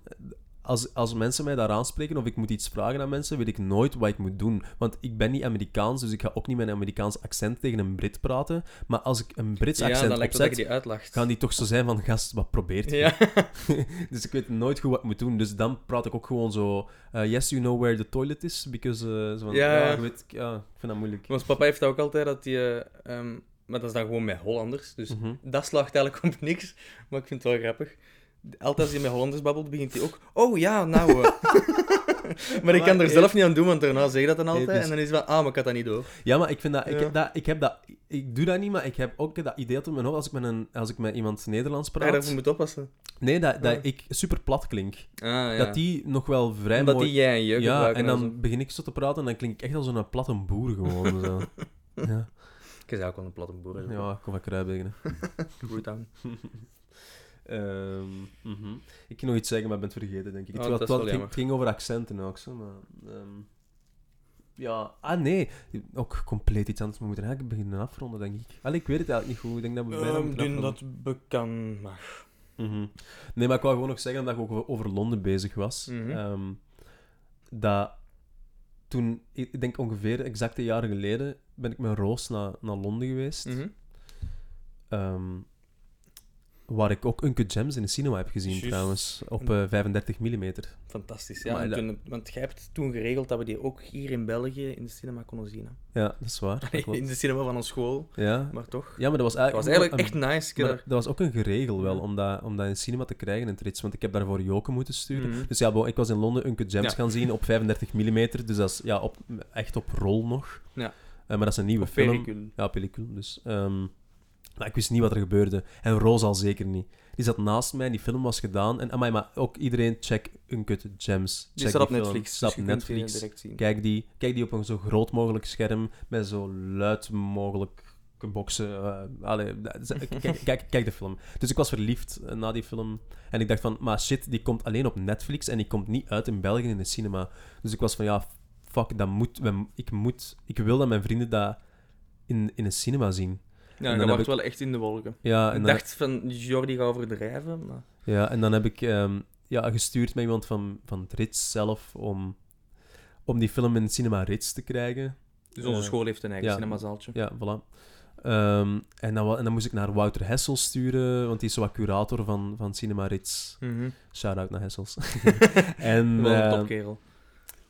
B: als, als mensen mij daar aanspreken of ik moet iets vragen aan mensen, weet ik nooit wat ik moet doen. Want ik ben niet Amerikaans, dus ik ga ook niet met een Amerikaans accent tegen een Brit praten. Maar als ik een Brits
A: Ja,
B: accent
A: dan lijkt het dat
B: opzet,
A: je die uitlacht.
B: gaan die toch zo zijn van, gast, wat probeert je?
A: Ja.
B: dus ik weet nooit goed wat ik moet doen. Dus dan praat ik ook gewoon zo, eh, yes, you know where the toilet is, because... eh, zo van, ja,
A: Ja, ja.
B: je weet, ja, ik vind dat moeilijk.
A: Ons papa heeft dat ook altijd, dat die... eh, ehm, maar dat is dan gewoon met Hollanders, dus...
B: Mhm.
A: Dat slaagt eigenlijk op niks, maar ik vind het wel grappig. Altijd als hij met Hollanders babbelt, begint hij ook... Oh ja, nou... eh." maar ik kan
B: Maar,
A: er
B: eh,
A: zelf niet aan doen, want daarna zeg je dat dan
B: eh,
A: altijd.
B: dus-
A: En dan is het van... Ah, maar ik had dat niet door.
B: Ja, maar ik vind dat ik,
A: Ja.
B: heb dat... ik heb dat... Ik doe dat niet, maar ik heb ook dat idee dat mijn hoofd als ik met, een, als ik met iemand Nederlands
A: Dat je
B: praat...
A: daarvoor moet oppassen.
B: Nee, dat, dat
A: Ja.
B: ik super plat klink.
A: Ah, ja.
B: Dat die nog wel vrij
A: Omdat
B: mooi...
A: die jij en je
B: ja,
A: gebruiken
B: en
A: en
B: dan
A: zo.
B: begin ik zo te praten en dan klink ik echt als een platte boer gewoon. zo. ja.
A: Ik is ook wel een platte boer. hè, zo.
B: ja, ik kom van kruibegen.
A: Goed aan.
B: Ehm, mhm. Ik kan nog iets zeggen, maar ik ben het vergeten, denk ik.
A: Oh,
B: het,
A: dat is
B: het-
A: wel
B: het ging,
A: jammer.
B: het ging over accenten ook zo, maar... ehm, ja, ah nee. Ook compleet iets anders. We moeten eigenlijk beginnen afronden, denk ik. Allee, ik weet het eigenlijk niet goed. Ik denk dat we bijna moeten
A: Ehm, doen dat
B: afronden.
A: bekend mag.
B: Mhm. Nee, maar ik wou gewoon nog zeggen, omdat ik ook over- over Londen bezig was,
A: Mhm.
B: ehm, dat toen, ik ik denk ongeveer exact een jaar geleden,
A: Mhm.
B: ben ik met Roos naar, naar Londen geweest. Ehm, Waar ik ook Uncut Gems in de cinema heb gezien,
A: Juist.
B: trouwens. Op eh, 35 mm.
A: Fantastisch. Ja,
B: Maar
A: we
B: dat-
A: kunnen- want jij hebt toen geregeld dat we die ook hier in België in de cinema konden zien. hè.
B: Ja, dat is waar. dat klopt.
A: in de cinema van onze school,
B: Ja.
A: maar toch.
B: ja, maar dat was
A: Dat was
B: eigenlijk,
A: eigenlijk
B: een-
A: echt nice. Ik heb
B: Maar
A: daar-
B: dat was ook een geregel wel, om dat, om dat in cinema te krijgen in Trits. Want ik heb daarvoor Joken moeten sturen.
A: Mhm.
B: Dus ja, bon, ik was in Londen Uncut Gems
A: Ja.
B: gaan zien op 35 mm. Dus dat is ja, op, echt op rol nog.
A: Ja.
B: Eh, maar dat is een nieuwe
A: Of
B: film.
A: Pericule.
B: Ja, pellicule. Dus, ehm, maar ik wist niet wat er gebeurde. En Roos al zeker niet. Die zat naast mij, die film was gedaan. En amai, maar ook iedereen, check Uncut Gems. Check
A: Die staat op
B: film,
A: Netflix.
B: staat
A: Dus
B: op
A: je kunt die
B: Netflix.
A: direct zien.
B: Kijk die, kijk die op een zo groot mogelijk scherm met zo luid mogelijk boksen. eh, allee, dat is- kijk, kijk, kijk de film. Dus ik was verliefd eh, na die film. En ik dacht van, maar shit, die komt alleen op Netflix en die komt niet uit in België in de cinema. Dus ik was van, ja, fuck, dat moet, we- ik, moet, ik wil dat mijn vrienden dat in, in een cinema zien.
A: Ja,
B: dan
A: dat
B: heb
A: wacht
B: ik-
A: wel echt in de wolken.
B: Ja, en
A: Ik
B: dan,
A: dacht van, Jordi gaat overdrijven, maar...
B: ja, en dan heb ik ehm, ja, gestuurd met iemand van, van Rits zelf om, om die film in cinema Rits te krijgen.
A: Dus onze
B: Eh,
A: school heeft een eigen
B: ja.
A: cinemazaaltje.
B: Ja, voilà. Ehm, en, dan, wa- en dan moest ik naar Wouter Hessels sturen, want die is zo wat curator van, van Cinema Rits.
A: Mhm.
B: Shout-out naar Hessels. en,
A: Wel een
B: eh,
A: topkerel.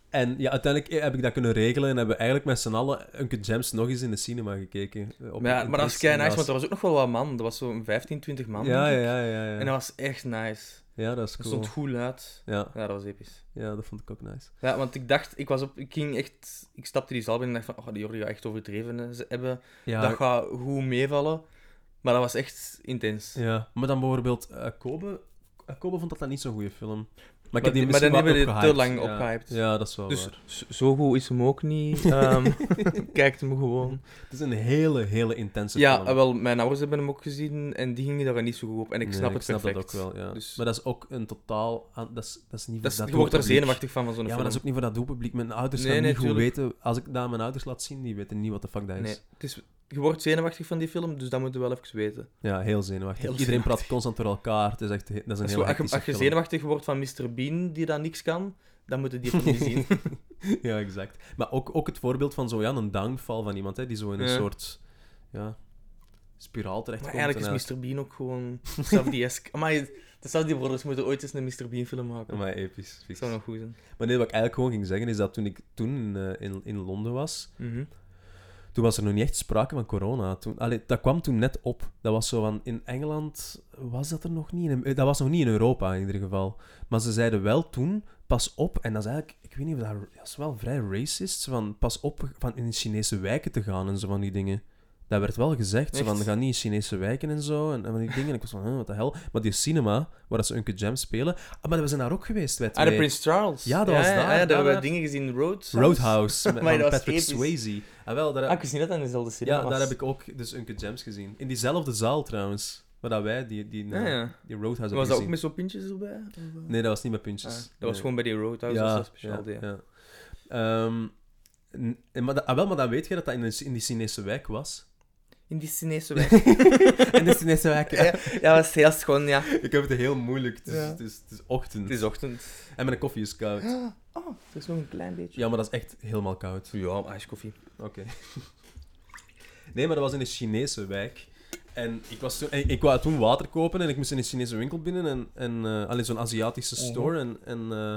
B: en ja, uiteindelijk eh, heb ik dat kunnen regelen en hebben we eigenlijk met z'n allen Uncut Gems nog eens in de cinema gekeken. eh, op-
A: Maar, ja,
B: op
A: maar dat is
B: Rits.
A: kei
B: En
A: nice, want er was ook nog wel wat man. Dat was zo'n 15, 20 man.
B: Ja,
A: denk ik.
B: ja, ja. ja, ja.
A: En dat was echt nice.
B: Ja, dat is
A: Er
B: cool.
A: stond goed luid.
B: Ja,
A: Ja, dat was episch.
B: ja, dat vond ik ook nice.
A: Ja, want ik dacht, ik was op, ik ging echt, ik stapte die zaal binnen en dacht van, oh, die Jordi gaat echt overdreven hè, ze hebben.
B: Ja,
A: Dat gaat goed meevallen. Maar dat was echt intens.
B: ja. maar dan bijvoorbeeld eh, Kobe. eh, Kobe vond dat dat niet zo'n goede film. Maar, ik
A: Maar
B: heb
A: die-
B: die
A: maar dan
B: misschien
A: hebben we
B: wat
A: die te
B: opgehyped.
A: lang
B: ja.
A: opgehyped.
B: Ja, dat is wel
A: Dus
B: waar.
A: z- zo goed is hem ook niet. Ehm kijkt hem gewoon.
B: Het is een hele, hele intense
A: Ja,
B: film.
A: eh, wel, mijn ouders hebben hem ook gezien en die gingen daar niet zo goed op. En ik
B: Nee,
A: snap het perfect.
B: dat ook wel, ja.
A: Dus-
B: Maar dat is ook een totaal... aan- Dat is, dat is niet
A: Dat is,
B: voor dat
A: je wordt daar
B: doelpubliek.
A: zenuwachtig van, van zo'n
B: Ja, maar
A: film.
B: dat is ook niet voor dat doelpubliek. Mijn ouders
A: Nee,
B: gaan
A: nee,
B: niet goed weten... Als ik dat aan mijn ouders laat zien, die weten niet wat de fuck dat is.
A: Nee, het is, je wordt zenuwachtig van die film, dus dat moeten we wel even weten.
B: Ja, heel zenuwachtig.
A: Heel
B: Iedereen praat constant door elkaar. Het is echt... he- Dat is een
A: Als
B: heel
A: je, als je- als je
B: hectische
A: zenuwachtig wordt van Mr. Bean, die dan niks kan, dan moeten die film niet zien.
B: film. Ja, exact. Maar ook, ook het voorbeeld van zo, ja, een downfall van iemand, hè, die zo in een
A: Ja.
B: soort... Ja, spiraal
A: Maar
B: terechtkomt.
A: eigenlijk
B: en
A: is Mr. Bean ook gewoon Safdiesk. Maar de Safdie-brothers moeten ooit eens een Mr. Bean-film maken.
B: Maar episch.
A: dat
B: fix.
A: zou nog goed zijn.
B: Maar nee, wat ik eigenlijk gewoon ging zeggen, is dat toen ik toen in, eh, in, in Londen was...
A: Mhm.
B: Toen was er nog niet echt sprake van corona. Toen, allee, dat kwam toen net op. Dat was zo van, in Engeland was dat er nog niet. In, eh, dat was nog niet in Europa in ieder geval. Maar ze zeiden wel toen, pas op. En dat is eigenlijk, ik weet niet of dat, dat is wel vrij racist. zo Van, pas op van in Chinese wijken te gaan en zo van die dingen. Dat werd wel gezegd. Zo van,
A: Echt?
B: ga niet in Chinese wijken en zo. En, en van die dingen. En ik was van, huh, wat de hel. Maar die cinema, waar dat ze Uncut Jam spelen. Ah, maar we zijn daar ook geweest, wij
A: Ah, de
B: twee.
A: Prince Charles.
B: Ja, dat was
A: ja, Ja,
B: daar,
A: daar
B: daar,
A: hebben we
B: daar.
A: dingen gezien. Road.
B: Roadhouse, met,
A: Maar
B: van
A: dat was
B: Patrick
A: episch.
B: Swayze. Ah, wel, daar,
A: Ah, ik wist niet dat dat in dezelfde cinema
B: ja,
A: was.
B: daar heb ik ook dus Uncut Gems gezien. In diezelfde zaal trouwens. Waar dat wij die, die,
A: Ah, ja.
B: die Roadhouse
A: Was
B: hebben
A: dat ook
B: gezien.
A: met zo'n pintjes erbij?
B: Nee, dat was niet met
A: Ah,
B: puntjes.
A: dat was gewoon bij die Roadhouse, dat was dat speciaal
B: ja,
A: deel.
B: ja. Ehm, n- en maar, dat- ah, wel, maar dan weet je dat dat in, een- in die Chinese wijk was.
A: In die Chinese weg.
B: in de Chinese wijk,
A: ja, ja, dat was heel schoon, ja.
B: Ik heb het heel moeilijk. Het is,
A: Ja.
B: het is, het is ochtend.
A: Het is ochtend.
B: En mijn koffie is koud.
A: Oh, het is nog een klein beetje.
B: Ja, maar dat is echt helemaal koud.
A: Ja, ijskoffie.
B: Oké. Nee, maar dat was in een Chinese wijk. En ik, was toen, en ik wou toen water kopen en ik moest in een Chinese winkel binnen. En, en eh, alleen zo'n Aziatische
A: Mhm.
B: store. En, en, eh,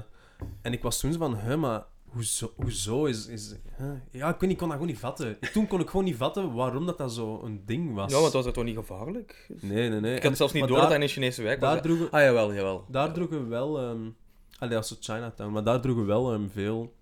B: en ik was toen zo van, hè, maar hoezo, hoezo is... is hè?" Ja, ik weet niet, ik kon dat gewoon niet vatten. Toen kon ik gewoon niet vatten waarom dat, dat zo een ding was.
A: Ja, want was dat toch niet gevaarlijk?
B: Nee, nee, nee.
A: Ik had zelfs niet
B: maar
A: door dat dat
B: daar,
A: in een Chinese wijk was.
B: daar droegen,
A: Ah, jawel, jawel.
B: daar droegen we wel... ehm allee, dat is zo Chinatown. Maar daar droegen wel ehm, veel,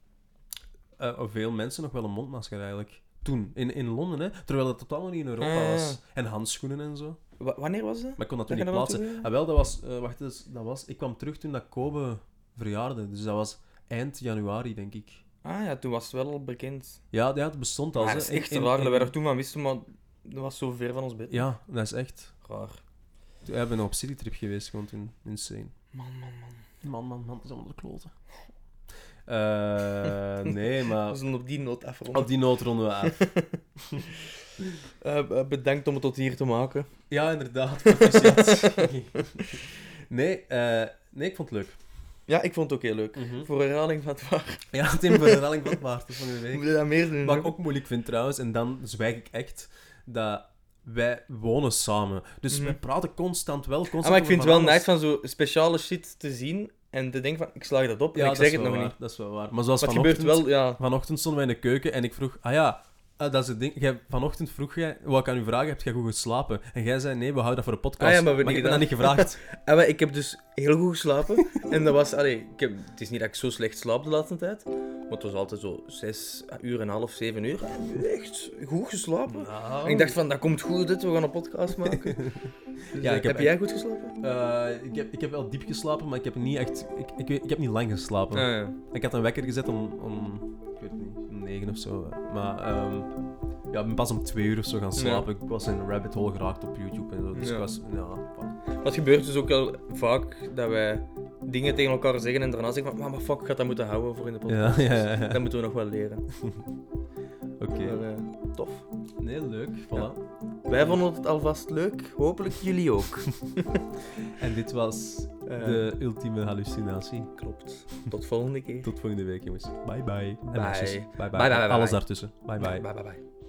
B: eh, veel mensen nog wel een mondmasker eigenlijk. Toen, in, in Londen, hè. Terwijl dat totaal nog niet in Europa
A: Ah, ja, ja.
B: was. En handschoenen en zo.
A: Wa- wanneer was dat?
B: Maar ik kon dat
A: Dat
B: toen
A: je
B: niet
A: dat wel
B: plaatsen.
A: toen-
B: Ah, wel, dat was... eh, wacht eens. Dat was... Ik kwam terug toen dat Kobe verjaarde. Dus dat was eind januari, denk ik.
A: Ah ja, toen was het wel al bekend.
B: Ja, ja het bestond al.
A: Ah,
B: hè.
A: dat is
B: In-
A: echt
B: in-
A: raar.
B: in-
A: Dat we er toen van wisten, maar dat was zo ver van ons bed.
B: Ja, dat is echt.
A: Raar.
B: We hebben een op citytrip geweest, gewoon toen. Insane.
A: Man, man, man.
B: Man, man, man. Dat is allemaal de kloten. Eh, nee, maar...
A: We zullen op die noot afronden.
B: Op die noot ronden we af.
A: Eh, eh, bedankt om het tot hier te maken.
B: Ja, inderdaad. proficiat. nee, eh, nee, ik vond het leuk.
A: Ja, ik vond het ook heel leuk.
B: Mhm.
A: Voor herhaling van het waar.
B: Ja, Tim, voor de herhaling van het waard van de
A: We
B: week.
A: moeten dat meer doen.
B: Wat
A: hè?
B: ik ook moeilijk vind trouwens, en dan zwijg ik echt, dat wij wonen samen. Dus
A: Mhm.
B: wij praten constant wel. Constant
A: Ah, maar ik
B: over
A: vind het wel
B: alles.
A: nice van zo speciale shit te zien en te denken van, ik sla dat op en
B: Ja,
A: ik
B: dat
A: zeg
B: is
A: het
B: wel
A: nog
B: waar,
A: niet.
B: Dat is wel waar. Maar zoals
A: Maar het
B: vanochtend,
A: gebeurt wel, ja.
B: vanochtend stonden wij in de keuken en ik vroeg... Ah ja, eh, dat is het ding. Jij, vanochtend vroeg jij... Wat ik aan u vragen? Heb jij goed geslapen? En jij zei nee, we houden dat voor de podcast.
A: Ah ja, maar we
B: maar ik
A: hebben
B: ben dat niet
A: niet
B: gevraagd.
A: En wel, ik heb dus heel goed geslapen. en dat was, allee, ik heb, het is niet dat ik zo slecht slaap de laatste tijd. Maar het was altijd zo zes uur en een half, zeven uur. Echt goed geslapen. En
B: Nou,
A: ik dacht van, dat komt goed dit, we gaan een podcast maken. Dus, eh,
B: heb
A: heb,
B: echt-
A: jij goed geslapen?
B: Eh, ik, heb, ik heb wel diep geslapen, maar ik heb niet echt... Ik, ik, weet- ik heb niet lang geslapen.
A: Ah, ja.
B: Ik had een wekker gezet om... om ik weet het niet, om negen of zo. Maar ehm, ja, ik ben pas om twee uur of zo gaan slapen. Ik was in een rabbit hole geraakt op YouTube en zo. Dus
A: Ja.
B: ik was... Ja, fuck.
A: Wat gebeurt dus ook wel vaak, dat wij dingen tegen elkaar zeggen en daarna zeggen van, maar fuck, ik had dat moeten houden voor in de podcast.
B: Ja, ja, ja, ja.
A: Dus Dat moeten we nog wel leren.
B: Oké.
A: Maar, eh, tof.
B: Nee, leuk. Voilà.
A: Ja. Wij vonden het alvast leuk, hopelijk jullie ook.
B: En dit was
A: Eh,
B: de ultieme hallucinatie.
A: Klopt. Tot volgende keer.
B: Tot volgende week, jongens. Bye bye. En
A: Bye.
B: meisjes. Bye bye.
A: bye, bye, bye.
B: Alles daartussen. Bye bye.
A: bye, bye. bye.